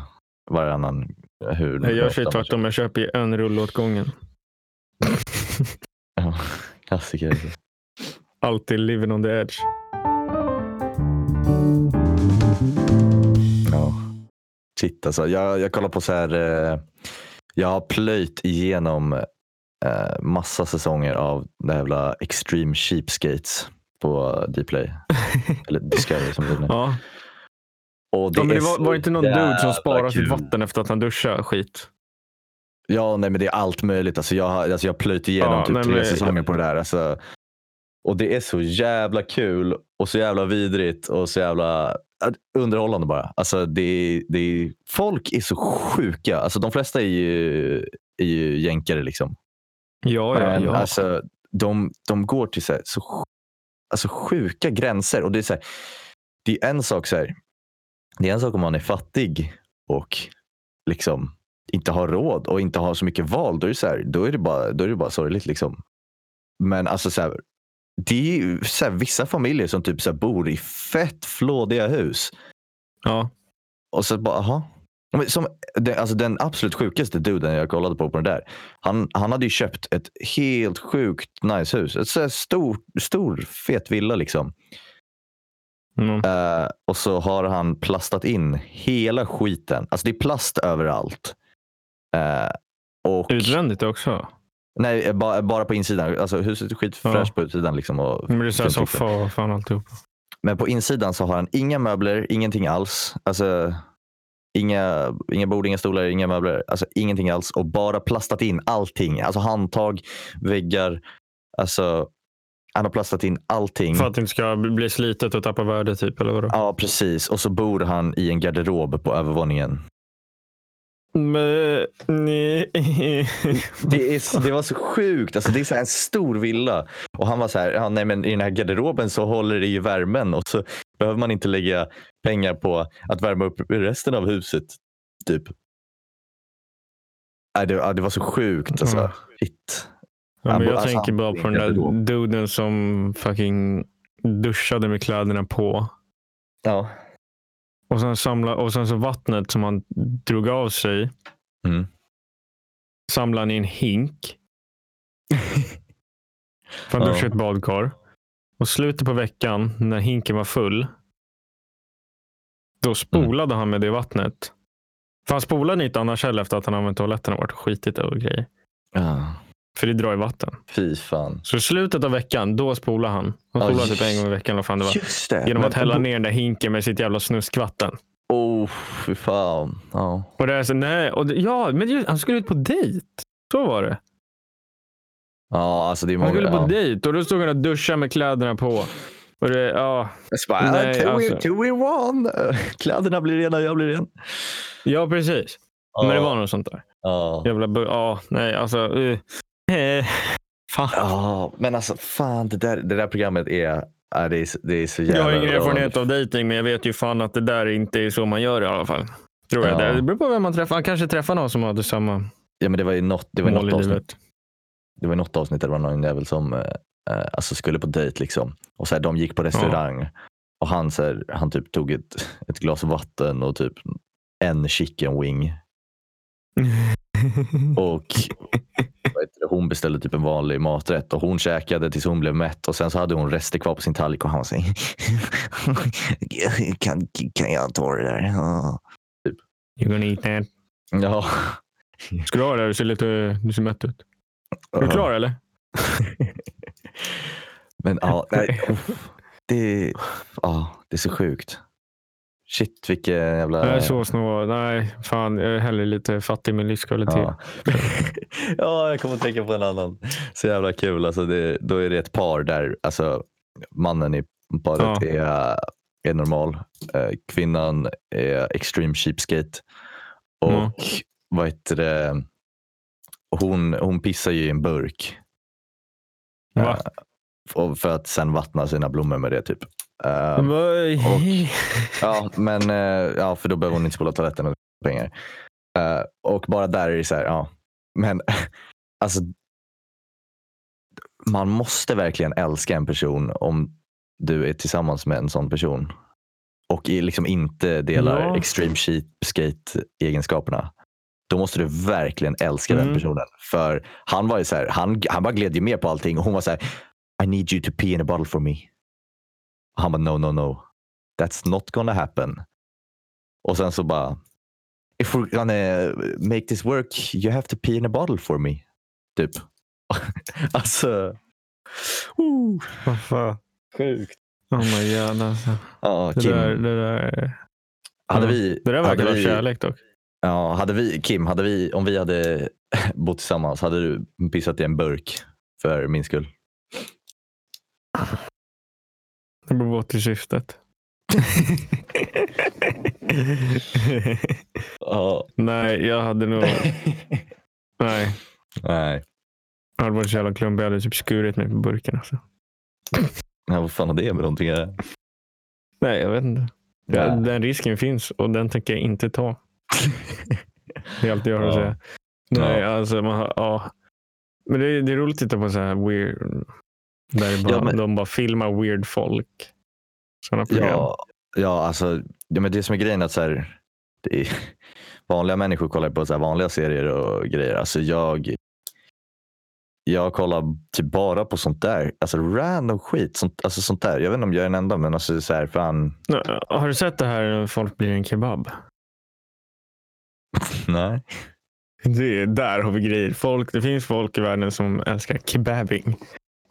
[SPEAKER 1] Varannan hur
[SPEAKER 2] Jag gör sig
[SPEAKER 1] ofta man
[SPEAKER 2] tvärtom. Jag köper ju en rulle åt gången.
[SPEAKER 1] köper. Ja, Klassiker.
[SPEAKER 2] Alltid living on the edge.
[SPEAKER 1] Ja. Shit alltså. Jag, jag kollar på så här. Eh, jag har plöjt igenom eh, massa säsonger av den här jävla Extreme Cheapskates på
[SPEAKER 2] *laughs*
[SPEAKER 1] Dplay. Eller Discovery som det är nu.
[SPEAKER 2] Ja.
[SPEAKER 1] Och
[SPEAKER 2] Ja, men
[SPEAKER 1] är
[SPEAKER 2] det var,
[SPEAKER 1] så
[SPEAKER 2] var inte någon dude som
[SPEAKER 1] jävla
[SPEAKER 2] sparade sitt
[SPEAKER 1] kul.
[SPEAKER 2] vatten efter att han duschade skit?
[SPEAKER 1] Ja, nej, men det är allt möjligt. Alltså, jag har alltså, jag har plöjt igenom
[SPEAKER 2] Ja,
[SPEAKER 1] typ
[SPEAKER 2] nej,
[SPEAKER 1] tre
[SPEAKER 2] men-
[SPEAKER 1] säsonger på det där. Alltså, och det är så jävla kul och så jävla vidrigt och så jävla äh, underhållande bara. Alltså, det, är- det, är- folk är så sjuka. Alltså, de flesta är ju, är ju jänkare. Liksom.
[SPEAKER 2] Ja, ja,
[SPEAKER 1] Men,
[SPEAKER 2] ja.
[SPEAKER 1] Alltså, de, de går till så, här, så sj- alltså, sjuka gränser. Och det, är så här, det är en sak så här, det är en sak om man är fattig och liksom inte har råd och inte har så mycket val. Då är det, så här, då är det, bara, då är det bara sorgligt. Liksom. Men alltså så här, det är ju så här, vissa familjer som typ så här, bor i fett flådiga hus.
[SPEAKER 2] Ja.
[SPEAKER 1] Och så bara, aha. Ja, men Som, det, alltså den absolut sjukaste duden jag kollade på på den där. Han, han hade ju köpt ett helt sjukt nice hus. Ett så här stor, stor fet villa liksom.
[SPEAKER 2] Mm.
[SPEAKER 1] Eh, och så har han plastat in hela skiten. Alltså det är plast överallt. Eh, och,
[SPEAKER 2] Utvändigt också.
[SPEAKER 1] nej, eh, ba, bara på insidan. Alltså huset är skitfräscht på utsidan. Liksom, och,
[SPEAKER 2] Men det är så här
[SPEAKER 1] fint
[SPEAKER 2] soffa och fan alltihop.
[SPEAKER 1] men på insidan så har han inga möbler, ingenting alls. Alltså, inga, inga bord, inga stolar, inga möbler. Alltså ingenting alls. Och bara plastat in allting. Alltså handtag, väggar. Alltså, han har plastat in allting.
[SPEAKER 2] För att det inte ska bli slitet och tappa värde typ, eller vadå?
[SPEAKER 1] Ja, precis. Och så bor han i en garderob på övervåningen.
[SPEAKER 2] Men, nej.
[SPEAKER 1] Det, är, det var så sjukt. Alltså, det är så här en stor villa. Och han var så här, ja, nej, men i den här garderoben så håller det ju värmen och så behöver man inte lägga pengar på att värma upp resten av huset. Typ. Nej, det, ja, det var så sjukt. *laughs* Alltså.
[SPEAKER 2] Mm.
[SPEAKER 1] Shit.
[SPEAKER 2] Ja, men
[SPEAKER 1] Ja,
[SPEAKER 2] jag
[SPEAKER 1] alltså,
[SPEAKER 2] tänker bara på den där
[SPEAKER 1] garderob.
[SPEAKER 2] duden som fucking duschade med kläderna på.
[SPEAKER 1] Ja.
[SPEAKER 2] Och sen, samla, och sen så vattnet som han drog av sig
[SPEAKER 1] Mm.
[SPEAKER 2] samlade han i
[SPEAKER 1] *laughs*
[SPEAKER 2] en hink. För han
[SPEAKER 1] Ja.
[SPEAKER 2] duschade i ett badkar. Och slutet på veckan när hinken var full.
[SPEAKER 1] Mm.
[SPEAKER 2] Då spolade han med det vattnet. För han spolade inte annars heller efter att han använt toaletten och varit och skitit och grejer.
[SPEAKER 1] ja.
[SPEAKER 2] För det drar i vatten.
[SPEAKER 1] Fy fan.
[SPEAKER 2] Så i slutet av veckan, då spolar han. Han
[SPEAKER 1] Ja,
[SPEAKER 2] spolar
[SPEAKER 1] just-
[SPEAKER 2] typ en gång i veckan. Vad fan det var.
[SPEAKER 1] Just det.
[SPEAKER 2] Genom
[SPEAKER 1] Men-
[SPEAKER 2] att hälla ner den där hinken med sitt jävla snuskvatten.
[SPEAKER 1] Oh, fy fan. Ja.
[SPEAKER 2] Och det är så, nej, och det, ja, men ju- han skulle ut på dejt. Så var det.
[SPEAKER 1] ja, alltså det är
[SPEAKER 2] Han
[SPEAKER 1] många.
[SPEAKER 2] skulle på
[SPEAKER 1] Ja.
[SPEAKER 2] dejt och då stod han och duschade med kläderna på. Och det, ja.
[SPEAKER 1] Jag bara, ah,
[SPEAKER 2] Nej,
[SPEAKER 1] two,
[SPEAKER 2] alltså.
[SPEAKER 1] two in one. *laughs* Kläderna blir rena, jag blir ren.
[SPEAKER 2] ja, precis. Men det var något sånt där.
[SPEAKER 1] Ja.
[SPEAKER 2] Jävla bu- ja, nej alltså. Uh, eh, fan.
[SPEAKER 1] Ja, men alltså fan det där, det där programmet är, ja, det är, så- det är så jävla
[SPEAKER 2] Jag har ingen
[SPEAKER 1] bra.
[SPEAKER 2] erfarenhet av dejting men jag vet ju fan att det där inte är så man gör i alla fall. Tror jag.
[SPEAKER 1] Ja.
[SPEAKER 2] Det- Det beror på vem man träffar. Han kanske träffar någon som hade samma
[SPEAKER 1] Ja, men det var ju något, det var ju
[SPEAKER 2] mål
[SPEAKER 1] något
[SPEAKER 2] i
[SPEAKER 1] avsnitt.
[SPEAKER 2] livet.
[SPEAKER 1] Det var ju något avsnitt där det var någon jävel som eh, eh, alltså skulle på dejt liksom. Och så här, de gick på restaurang och han, så här, han typ tog ett, *laughs* ett glas vatten och typ en chicken
[SPEAKER 2] *laughs*
[SPEAKER 1] wing. Och vad heter det, hon beställde typ en vanlig maträtt och hon käkade tills hon blev mätt och sen så hade hon rester kvar på sin tallrik och han var så här, *laughs* kan, kan jag ta det där? Ja.
[SPEAKER 2] You're gonna eat that.
[SPEAKER 1] Ja.
[SPEAKER 2] Ska du ha det? Du ser lite du ser mätt ut. Är du klar eller?
[SPEAKER 1] Men
[SPEAKER 2] *laughs*
[SPEAKER 1] ja, nej, uff. det, ja, det är så sjukt. Shit vilken jävla...
[SPEAKER 2] Nej, så snål. Nej, fan. Jag är hellre lite fattig med livskvalitet.
[SPEAKER 1] ja. *laughs* ja, jag kommer att tänka på en annan. Så jävla kul. Alltså det, då är det ett par där alltså, mannen i paret
[SPEAKER 2] Ja.
[SPEAKER 1] är, är normal. Eh, Kvinnan är extreme cheapskate. Och
[SPEAKER 2] Mm.
[SPEAKER 1] vad heter det? Hon, hon pissar ju i en burk.
[SPEAKER 2] Va?
[SPEAKER 1] Och- För att sen vattna sina blommor med det typ. Eh,
[SPEAKER 2] Vad-
[SPEAKER 1] Ja, men eh, ja, för då behöver hon inte spola toaletten och pengar. Eh, och bara där är det så här, ja. Men *laughs* alltså. Man måste verkligen älska en person om du är tillsammans med en sån person. Och i- liksom inte delar
[SPEAKER 2] Ja.
[SPEAKER 1] extreme skate egenskaperna. Då måste du verkligen älska den
[SPEAKER 2] Mm.
[SPEAKER 1] personen. För han var ju så här, han, han bara gled ju med på allting och hon var så här, I need you to pee in a bottle for me. Och han bara no, no, no. That's not gonna happen. Och sen så bara If we're gonna make this work you have to pee in a bottle for me. Typ. *laughs* alltså. Uh,
[SPEAKER 2] Vad fan.
[SPEAKER 1] sjukt.
[SPEAKER 2] Oh my god alltså.
[SPEAKER 1] Ja,
[SPEAKER 2] Det
[SPEAKER 1] Kim.
[SPEAKER 2] där, det där,
[SPEAKER 1] hade
[SPEAKER 2] ja.
[SPEAKER 1] vi,
[SPEAKER 2] det där verkar
[SPEAKER 1] hade
[SPEAKER 2] vara
[SPEAKER 1] vi,
[SPEAKER 2] kärlek dock.
[SPEAKER 1] Ja, hade vi, Kim, hade vi, om vi hade *laughs* bott tillsammans, hade du pissat i en burk för min skull?
[SPEAKER 2] Det beror på
[SPEAKER 1] *laughs*
[SPEAKER 2] till syftet.
[SPEAKER 1] Ja.
[SPEAKER 2] nej, jag hade nog... Nej,
[SPEAKER 1] Nej.
[SPEAKER 2] jag hade varit så jävla klumpig. Jag hade typ skurit mig på burken. Alltså.
[SPEAKER 1] Ja, vad fan har det med någonting att göra?
[SPEAKER 2] Nej, jag vet inte. Ja. Den risken finns och den tänker jag inte ta. Det är allt jag har att
[SPEAKER 1] Ja.
[SPEAKER 2] säga. Nej, alltså man har, ja. Men det är, det är roligt att titta på så här weird, Där det bara,
[SPEAKER 1] Ja, men-
[SPEAKER 2] de bara filmar weird folk. Sådana program.
[SPEAKER 1] Ja, ja, alltså, ja, men det som är grejen är att så här, det är, vanliga människor kollar på så här vanliga serier och grejer. Alltså jag, jag kollar typ bara på sånt där. Alltså random skit. Sånt, alltså sånt där. Jag vet inte om jag är den enda, men alltså så här, fan.
[SPEAKER 2] Nu, Har du sett det här när folk blir en kebab?
[SPEAKER 1] Nej.
[SPEAKER 2] Det, är- där har vi grejer. Folk, det finns folk i världen som älskar kebabbing.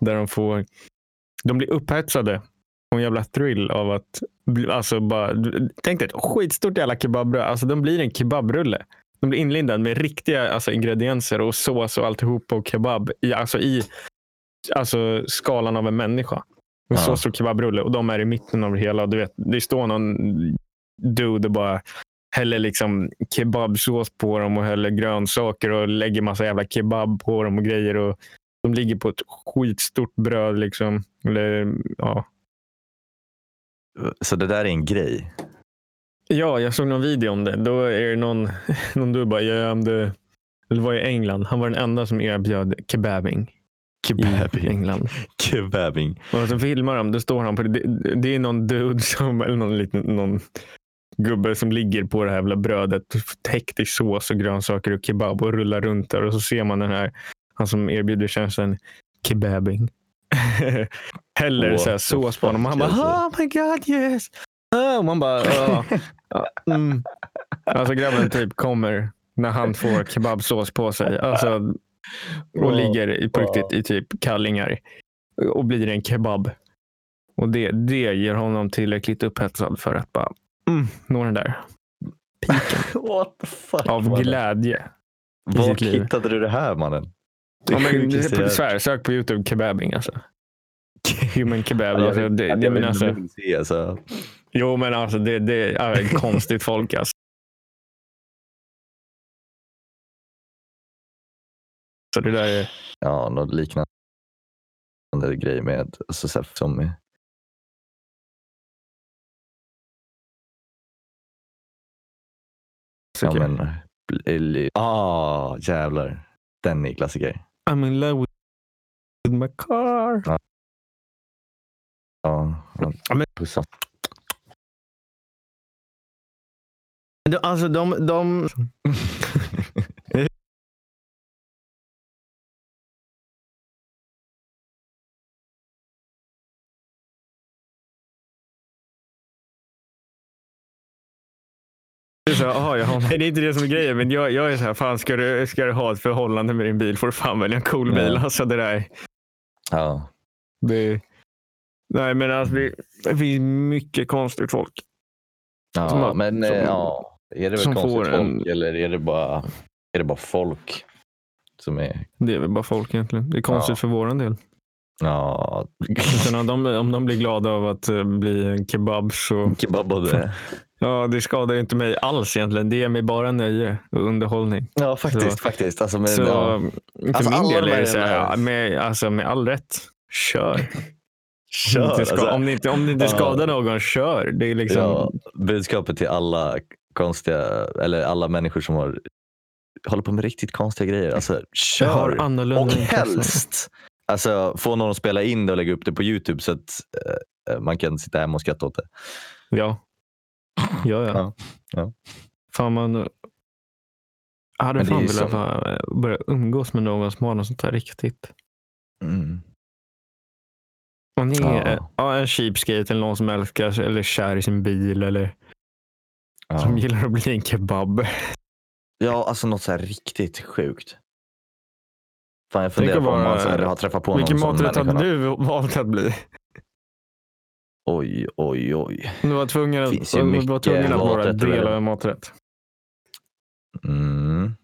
[SPEAKER 2] Där de får... De blir upphetsade och en jävla thrill av att... bli- Alltså bara, tänk dig ett skitstort jävla kebabbröd. Alltså de blir en kebabrulle. De blir inlindade med riktiga alltså, ingredienser och sås och alltihop och kebab. I, alltså i alltså, skalan av en människa. En
[SPEAKER 1] Ja.
[SPEAKER 2] så stor kebabrulle och de är i mitten av det hela. Du vet, det står någon dude och bara häller liksom kebabsås på dem och häller grönsaker och lägger massa jävla kebab på dem och grejer. Och de ligger på ett skitstort bröd. liksom. Eller, ja.
[SPEAKER 1] Så det där är en grej.
[SPEAKER 2] ja, jag såg någon video om det. Då är det någon, *laughs* någon du bara, jag ämde, eller var i England. Han var den enda som erbjöd kebabing i
[SPEAKER 1] *laughs* Kebabbing.
[SPEAKER 2] England.
[SPEAKER 1] Kebabbing.
[SPEAKER 2] Och så filmar de, då står han på det. Det, det är någon dude som, eller någon, liten, någon gubbe som ligger på det här jävla brödet täckt i sås och grönsaker och kebab och rullar runt där och så ser man den här, han som erbjuder tjänsten kebabing. *laughs* Häller
[SPEAKER 1] What
[SPEAKER 2] så här
[SPEAKER 1] the
[SPEAKER 2] sås på honom och han bara
[SPEAKER 1] fuck,
[SPEAKER 2] oh my god yes. Ah, Och man bara ja. ja, *laughs* mm. Alltså grabben typ kommer när han får kebabsås på sig. Alltså,
[SPEAKER 1] Ja.
[SPEAKER 2] och ligger i- på riktigt i typ kallingar och blir en kebab. Och det, det ger honom tillräckligt upphetsad för att bara mm, nå den där
[SPEAKER 1] What the fuck?
[SPEAKER 2] av
[SPEAKER 1] mannen?
[SPEAKER 2] glädje. i
[SPEAKER 1] Var
[SPEAKER 2] sitt liv.
[SPEAKER 1] hittade du det här mannen? Det
[SPEAKER 2] Ja, men, det
[SPEAKER 1] sjukaste
[SPEAKER 2] är på,
[SPEAKER 1] jag-
[SPEAKER 2] svär, sök på Youtube kebabbing *laughs* alltså. Human kebab.
[SPEAKER 1] Jag
[SPEAKER 2] Alltså,
[SPEAKER 1] vet-
[SPEAKER 2] det,
[SPEAKER 1] jag
[SPEAKER 2] det, men
[SPEAKER 1] vet inte
[SPEAKER 2] alltså,
[SPEAKER 1] om jag vill se, alltså.
[SPEAKER 2] jo men alltså det, det
[SPEAKER 1] *laughs*
[SPEAKER 2] är konstigt folk alltså. Så det där är
[SPEAKER 1] ja, något liknande grej med alltså, så här, som ja,
[SPEAKER 2] okay.
[SPEAKER 1] men, eller- ah, jävlar. Den är klassiker.
[SPEAKER 2] I'm in love with my car.
[SPEAKER 1] Ja,
[SPEAKER 2] Ja, men- *laughs*
[SPEAKER 1] pussat.
[SPEAKER 2] De- Alltså de, de... Det är så här, aha, jag har... *laughs* Nej, det är inte det som är grejen, men jag, jag är så här, fan ska du, ska du ha ett förhållande med din bil får du fan välja en cool bil.
[SPEAKER 1] Ja.
[SPEAKER 2] Alltså det där.
[SPEAKER 1] Ja.
[SPEAKER 2] Det... Nej men alltså det, det finns mycket konstigt folk. Som
[SPEAKER 1] Ja,
[SPEAKER 2] har-
[SPEAKER 1] men eh,
[SPEAKER 2] som-
[SPEAKER 1] ja, är det väl
[SPEAKER 2] som
[SPEAKER 1] konstigt
[SPEAKER 2] får
[SPEAKER 1] folk
[SPEAKER 2] en-
[SPEAKER 1] eller är det, bara, är det bara folk som är...
[SPEAKER 2] Det är väl bara folk egentligen. Det är konstigt
[SPEAKER 1] Ja.
[SPEAKER 2] för våran del.
[SPEAKER 1] Ja, *laughs*
[SPEAKER 2] Sen om, de, om de blir glada av att eh, bli en kebab så
[SPEAKER 1] kebab och
[SPEAKER 2] *laughs*
[SPEAKER 1] det.
[SPEAKER 2] ja, det skadar ju inte mig alls egentligen. Det ger mig bara nöje och underhållning.
[SPEAKER 1] Ja, faktiskt.
[SPEAKER 2] Så-
[SPEAKER 1] faktiskt. Alltså, men,
[SPEAKER 2] så
[SPEAKER 1] ja.
[SPEAKER 2] för
[SPEAKER 1] Alltså,
[SPEAKER 2] min
[SPEAKER 1] alla
[SPEAKER 2] del
[SPEAKER 1] de
[SPEAKER 2] är
[SPEAKER 1] här
[SPEAKER 2] det så här,
[SPEAKER 1] jävla-
[SPEAKER 2] ja, med, alltså, med all rätt, kör.
[SPEAKER 1] Kör,
[SPEAKER 2] om, det ska,
[SPEAKER 1] alltså.
[SPEAKER 2] om det inte, om det inte
[SPEAKER 1] Ja.
[SPEAKER 2] skadar någon, kör. Det är liksom,
[SPEAKER 1] Ja, budskapet till alla konstiga, eller alla människor som har, håller på med riktigt konstiga grejer. Alltså,
[SPEAKER 2] jag har
[SPEAKER 1] kör!
[SPEAKER 2] annorlunda
[SPEAKER 1] Och
[SPEAKER 2] intressen.
[SPEAKER 1] helst alltså, få någon att spela in det och lägga upp det på Youtube så att eh, man kan sitta hemma och skratta åt det.
[SPEAKER 2] Ja. Ja, ja.
[SPEAKER 1] Ja, ja.
[SPEAKER 2] Fan, man jag hade
[SPEAKER 1] Men det är
[SPEAKER 2] fan
[SPEAKER 1] ju
[SPEAKER 2] velat
[SPEAKER 1] som-
[SPEAKER 2] bara eh, börja umgås med någon som har något sånt här riktigt.
[SPEAKER 1] Mm.
[SPEAKER 2] Och ni
[SPEAKER 1] Ja.
[SPEAKER 2] är ja, en cheapskate eller någon som älskar sig- eller är kär i sin bil eller som
[SPEAKER 1] Ja.
[SPEAKER 2] gillar att bli en kebab.
[SPEAKER 1] ja, alltså något så här riktigt sjukt. Fan, jag
[SPEAKER 2] Tänk
[SPEAKER 1] funderar
[SPEAKER 2] att
[SPEAKER 1] på om man
[SPEAKER 2] vara-
[SPEAKER 1] så här, har träffat på
[SPEAKER 2] Vilken
[SPEAKER 1] någon
[SPEAKER 2] maträtt hade
[SPEAKER 1] människan-
[SPEAKER 2] du valt att bli?
[SPEAKER 1] Oj, oj, oj.
[SPEAKER 2] Om Du var tvungen att,
[SPEAKER 1] Finns ju
[SPEAKER 2] om du var
[SPEAKER 1] mycket
[SPEAKER 2] tvungen att vara
[SPEAKER 1] maträtter
[SPEAKER 2] del
[SPEAKER 1] där.
[SPEAKER 2] av en maträtt.
[SPEAKER 1] Mm.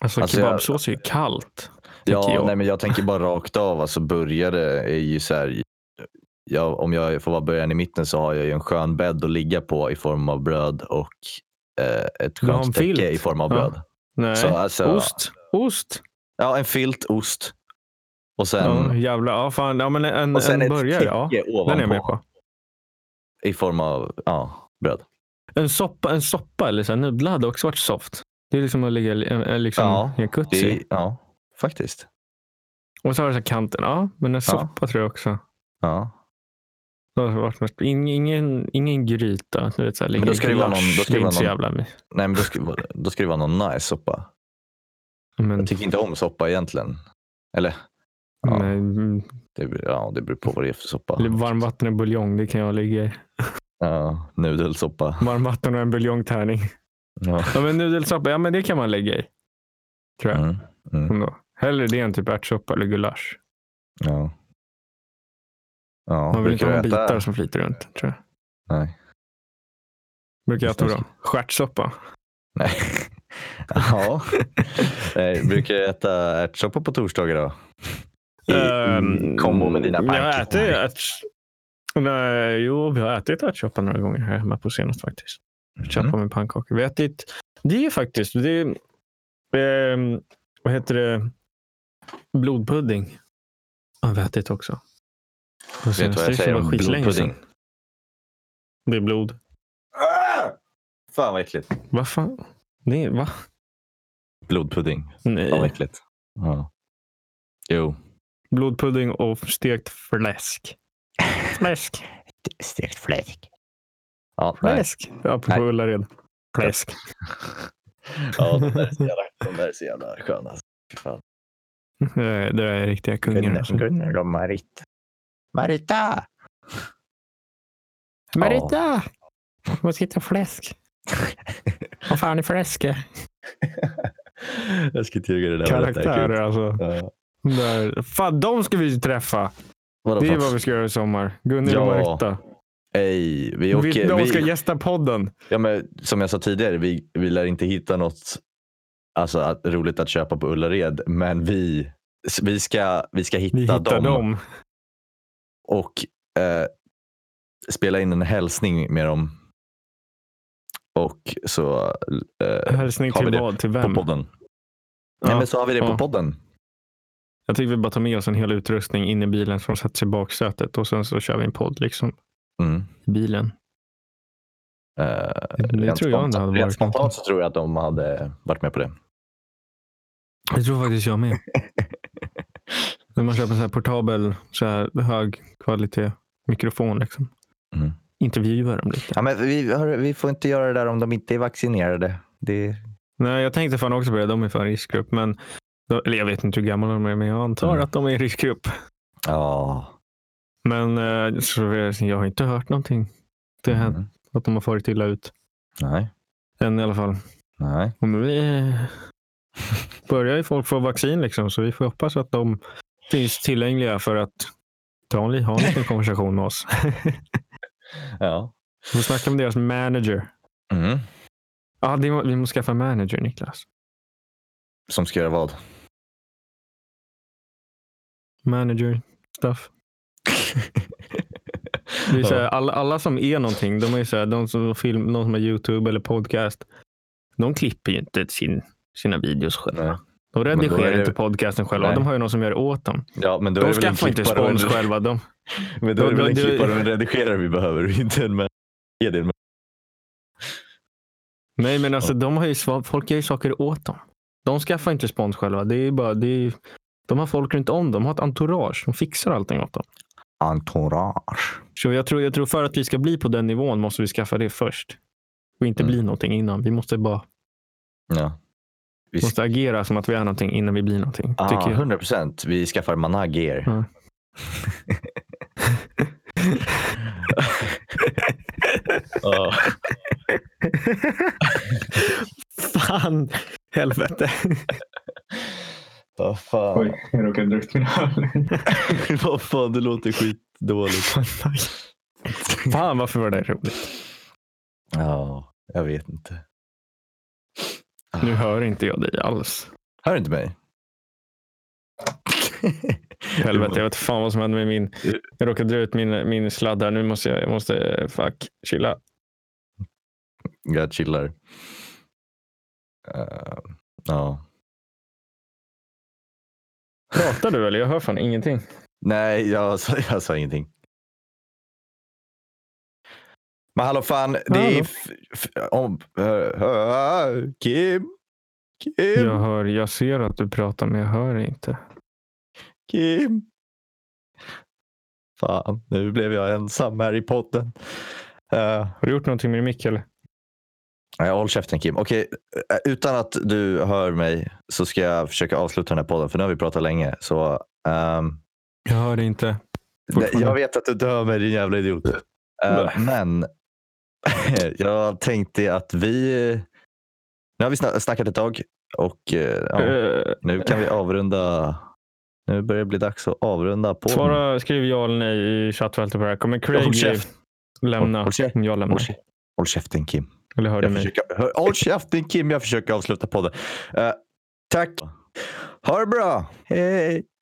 [SPEAKER 2] Alltså,
[SPEAKER 1] Alltså, jag-
[SPEAKER 2] kebabsås är ju kallt.
[SPEAKER 1] Ja,
[SPEAKER 2] tänker jag.
[SPEAKER 1] Nej, men jag tänker bara rakt av. Alltså började är ju så här. Ja, om jag får vara början i mitten så har jag ju en skön bädd att ligga på i form av bröd och eh, ett
[SPEAKER 2] Du har
[SPEAKER 1] skönt
[SPEAKER 2] en
[SPEAKER 1] täcke
[SPEAKER 2] filt.
[SPEAKER 1] i form av
[SPEAKER 2] Ja.
[SPEAKER 1] bröd.
[SPEAKER 2] Nej.
[SPEAKER 1] Så, alltså,
[SPEAKER 2] Ost. Ost.
[SPEAKER 1] Ja, en filt, ost och
[SPEAKER 2] Ja,
[SPEAKER 1] sen,
[SPEAKER 2] jävla. Ja, fan. Ja, men en,
[SPEAKER 1] och sen
[SPEAKER 2] en
[SPEAKER 1] ett
[SPEAKER 2] burgare. Ja.
[SPEAKER 1] täcke
[SPEAKER 2] Den är jag med
[SPEAKER 1] ovanpå
[SPEAKER 2] på.
[SPEAKER 1] i form av ja, bröd.
[SPEAKER 2] En soppa, en soppa eller så här nudlar hade också varit soft. Det är liksom att lägga li- en, en, liksom
[SPEAKER 1] Ja,
[SPEAKER 2] jacuzzi.
[SPEAKER 1] Det, ja, faktiskt.
[SPEAKER 2] Och så har det så här kanten. Ja, men en soppa tror jag också.
[SPEAKER 1] Ja.
[SPEAKER 2] Det har varit något- ingen, ingen, ingen gryta. Du vet, så här,
[SPEAKER 1] Men då
[SPEAKER 2] ligger
[SPEAKER 1] ska det vara
[SPEAKER 2] gulasch.
[SPEAKER 1] någon- då ska det
[SPEAKER 2] är
[SPEAKER 1] vara
[SPEAKER 2] inte så
[SPEAKER 1] någon-
[SPEAKER 2] jävla my-
[SPEAKER 1] Nej, men då ska, då ska det vara någon nice soppa.
[SPEAKER 2] men, typ
[SPEAKER 1] Jag tycker inte om soppa egentligen. Eller? Ja,
[SPEAKER 2] men,
[SPEAKER 1] det, beror- ja, det beror på vad det är för soppa.
[SPEAKER 2] eller Varmvatten och buljong, det kan jag ligga i.
[SPEAKER 1] Ja, nudelsoppa.
[SPEAKER 2] Varmvatten och en buljongtärning. *laughs*
[SPEAKER 1] Ja.
[SPEAKER 2] Ja, men nudelsoppa, ja men det kan man lägga i. Tror jag.
[SPEAKER 1] Mm, mm,
[SPEAKER 2] Ändå. Hellre det än typ ärtsoppa eller gulasch.
[SPEAKER 1] ja. Ja,
[SPEAKER 2] Man vill inte
[SPEAKER 1] brukar
[SPEAKER 2] ha
[SPEAKER 1] du äta-
[SPEAKER 2] bitar som flyter runt. Tror jag.
[SPEAKER 1] Nej.
[SPEAKER 2] Brukar jag
[SPEAKER 1] Just
[SPEAKER 2] äta
[SPEAKER 1] det.
[SPEAKER 2] dem. Stjärtsoppa. *laughs*
[SPEAKER 1] Nej. ja. Nej, brukar jag äta ärtsoppa på torsdagar då? I, i
[SPEAKER 2] Ehm,
[SPEAKER 1] kombo med dina
[SPEAKER 2] Jag äter
[SPEAKER 1] pannkakor. Mm.
[SPEAKER 2] ärts... Nej, jo, vi har ätit ärtsoppa några gånger här hemma på senast faktiskt. Ärtsoppa
[SPEAKER 1] Mm.
[SPEAKER 2] med pannkakor. Vi har ätit... Det är faktiskt... Det är, ehm, vad heter det? Blodpudding har vi ätit också.
[SPEAKER 1] Vet
[SPEAKER 2] Och
[SPEAKER 1] du
[SPEAKER 2] senast,
[SPEAKER 1] vad
[SPEAKER 2] det
[SPEAKER 1] jag säger
[SPEAKER 2] var
[SPEAKER 1] om
[SPEAKER 2] skitlänge
[SPEAKER 1] blodpudding?
[SPEAKER 2] sedan. liksom. Det är blod.
[SPEAKER 1] Ah! Fan vad äckligt.
[SPEAKER 2] Vad fan? Det är, va?
[SPEAKER 1] Blodpudding. Fan vad
[SPEAKER 2] Nej.
[SPEAKER 1] äckligt. Ja. Jo.
[SPEAKER 2] Blodpudding och stekt fläsk. Fläsk.
[SPEAKER 1] Stekt fläsk. Ja, *laughs* nej.
[SPEAKER 2] Fläsk. Apropå
[SPEAKER 1] Nej.
[SPEAKER 2] Ullared. Fläsk.
[SPEAKER 1] ja, de där är så jävla, de där är så jävla sköna. Fy fan.
[SPEAKER 2] Det är, *laughs* det är riktiga kungar. Alltså.
[SPEAKER 1] Gunnar och Marita. Marita!
[SPEAKER 2] Marita! Jag måste hitta fläsk.
[SPEAKER 1] *laughs*
[SPEAKER 2] Vad fan är fläsk?
[SPEAKER 1] *laughs* jag ska tyga det där. var rätt äckligt.
[SPEAKER 2] Karaktärer alltså.
[SPEAKER 1] Ja.
[SPEAKER 2] Där. Fan, de ska vi träffa.
[SPEAKER 1] Vadå,
[SPEAKER 2] Det är
[SPEAKER 1] fan?
[SPEAKER 2] vad vi ska göra i sommar. Gunnel
[SPEAKER 1] Ja,
[SPEAKER 2] och Marita.
[SPEAKER 1] Ej, vi
[SPEAKER 2] Vi,
[SPEAKER 1] åker,
[SPEAKER 2] de ska
[SPEAKER 1] vi,
[SPEAKER 2] gästa podden.
[SPEAKER 1] ja, men, som jag sa tidigare, vi, vi lär inte hitta något alltså, att, roligt att köpa på Ullared, men vi, vi, ska, vi ska hitta
[SPEAKER 2] Vi hittar
[SPEAKER 1] dem,
[SPEAKER 2] dem.
[SPEAKER 1] och eh, spela in en hälsning med dem. Och så eh,
[SPEAKER 2] Hälsning
[SPEAKER 1] har vi
[SPEAKER 2] till
[SPEAKER 1] det
[SPEAKER 2] vad? Till
[SPEAKER 1] på
[SPEAKER 2] vem?
[SPEAKER 1] podden. Nej,
[SPEAKER 2] Ja.
[SPEAKER 1] men så har vi det på
[SPEAKER 2] ja.
[SPEAKER 1] podden.
[SPEAKER 2] Jag tycker vi bara tar med oss en hel utrustning in i bilen som sätter sig i baksätet och sen så kör vi en podd liksom
[SPEAKER 1] Mm.
[SPEAKER 2] i bilen.
[SPEAKER 1] Eh,
[SPEAKER 2] Det
[SPEAKER 1] rent
[SPEAKER 2] tror jag
[SPEAKER 1] spontant-
[SPEAKER 2] inte hade
[SPEAKER 1] Rent
[SPEAKER 2] varit något.
[SPEAKER 1] spontant så tror jag att de hade varit med på det.
[SPEAKER 2] Jag tror faktiskt
[SPEAKER 1] *laughs*
[SPEAKER 2] jag med. När man köper så här portabel, så här hög kvalitet mikrofon. Liksom.
[SPEAKER 1] Mm.
[SPEAKER 2] Intervjuar dem liksom. lite.
[SPEAKER 1] Ja, men vi, hör- vi får inte göra det där om de inte är vaccinerade. Det,
[SPEAKER 2] Nej, jag tänkte fan också på det. De är fan riskgrupp. Men, eller jag vet inte hur gamla de är, men jag antar
[SPEAKER 1] Mm.
[SPEAKER 2] att de är i riskgrupp.
[SPEAKER 1] ja.
[SPEAKER 2] Men eh, så, jag har inte hört någonting. Det har hänt
[SPEAKER 1] Mm.
[SPEAKER 2] att de har farit illa ut.
[SPEAKER 1] Nej,
[SPEAKER 2] Än i alla fall.
[SPEAKER 1] nej.
[SPEAKER 2] Men vi *laughs* börjar ju folk få vaccin liksom, så vi får hoppas att de finns tillgängliga för att ta en, li- ha en liten konversation med oss.
[SPEAKER 1] Ja.
[SPEAKER 2] Vi får snacka med deras manager.
[SPEAKER 1] Mm.
[SPEAKER 2] Ja, det må, vi måste skaffa en manager, Niklas.
[SPEAKER 1] Som ska göra vad?
[SPEAKER 2] Manager stuff. Det är så här, alla, alla som är någonting, de, är så här, de, som film, de som har YouTube eller podcast, de klipper ju inte sin, sina videos själva.
[SPEAKER 1] Nej.
[SPEAKER 2] De
[SPEAKER 1] då är
[SPEAKER 2] redigerar
[SPEAKER 1] det-
[SPEAKER 2] inte podcasten själva.
[SPEAKER 1] Nej.
[SPEAKER 2] De har ju någon som gör det åt dem.
[SPEAKER 1] Ja, men då är
[SPEAKER 2] De
[SPEAKER 1] det väl en
[SPEAKER 2] skaffar inte
[SPEAKER 1] klippare och en-
[SPEAKER 2] spons själva. De,
[SPEAKER 1] *laughs* Men då är det väl en
[SPEAKER 2] Då- då-
[SPEAKER 1] klippare och en redigerare vi behöver, inte en med. Ge det en med-
[SPEAKER 2] Nej, men alltså de har ju, sva- folk gör ju saker åt dem. De skaffar inte spons själva. Det är ju bara, det är, ju- de har folk runt om dem. De har ett entourage. De fixar allting åt dem.
[SPEAKER 1] Entourage.
[SPEAKER 2] Så jag tror, jag tror för att vi ska bli på den nivån måste vi skaffa det först. Och inte
[SPEAKER 1] Mm.
[SPEAKER 2] bli någonting innan. Vi måste bara
[SPEAKER 1] Ja. Vi
[SPEAKER 2] måste agera som att vi är någonting innan vi blir någonting.
[SPEAKER 1] ah,
[SPEAKER 2] Tycker
[SPEAKER 1] *laughs*
[SPEAKER 2] jag.
[SPEAKER 1] 100 procent. Vi skaffar manager.
[SPEAKER 2] Ja.
[SPEAKER 1] *laughs* Ja.
[SPEAKER 2] Fan! Helvete.
[SPEAKER 1] Vad fan.
[SPEAKER 2] jag råkade druckit min öl.
[SPEAKER 1] *laughs* Vad fan, det låter skitdåligt.
[SPEAKER 2] Fan, varför var det roligt?
[SPEAKER 1] Ja, jag vet inte. Ah.
[SPEAKER 2] Nu hör inte jag dig alls.
[SPEAKER 1] Hör du inte mig?
[SPEAKER 2] Helvete, jag vet fan vad som hände med min... Jag råkade dra ut min, min sladd här. Nu måste jag... jag måste, fuck, chilla.
[SPEAKER 1] Jag chillar. Eh, ja.
[SPEAKER 2] Pratar du eller? Jag hör fan ingenting.
[SPEAKER 1] Nej, jag sa, *laughs* jag sa ingenting. Men hallå fan, det
[SPEAKER 2] Hallå.
[SPEAKER 1] är... F- f- om, eh, eh, Kim? Kim?
[SPEAKER 2] Jag, hör, jag ser att du pratar, men jag hör inte.
[SPEAKER 1] Kim! Fan, nu blev jag ensam här i podden. Eh,
[SPEAKER 2] Har du gjort någonting med din mick eller?
[SPEAKER 1] Nej, håll käften Kim. Okej, eh, utan att du hör mig så ska jag försöka avsluta den här podden för nu har vi pratat länge. Så, ehm,
[SPEAKER 2] Jag hör det inte.
[SPEAKER 1] nej,
[SPEAKER 2] Fortfarande.
[SPEAKER 1] jag vet att du inte hör mig din jävla idiot. Eh,
[SPEAKER 2] Nej.
[SPEAKER 1] men *laughs* jag tänkte att vi... Nu har vi sna- snackat ett tag och eh, ja,
[SPEAKER 2] Eh,
[SPEAKER 1] nu kan vi avrunda. Nu börjar det bli dags att avrunda podden.
[SPEAKER 2] Svara, skriv ja eller nej i chattfältet på det här. Kommer Craig
[SPEAKER 1] Håll käft.
[SPEAKER 2] lämna?
[SPEAKER 1] Håll- håll käften.
[SPEAKER 2] jag lämnar.
[SPEAKER 1] Håll käften. Håll käften Kim.
[SPEAKER 2] Eller hör du
[SPEAKER 1] Jag
[SPEAKER 2] mig?
[SPEAKER 1] försöker, hör, håll käften Kim, jag försöker avsluta podden. Eh, tack. Ha det bra. Hej.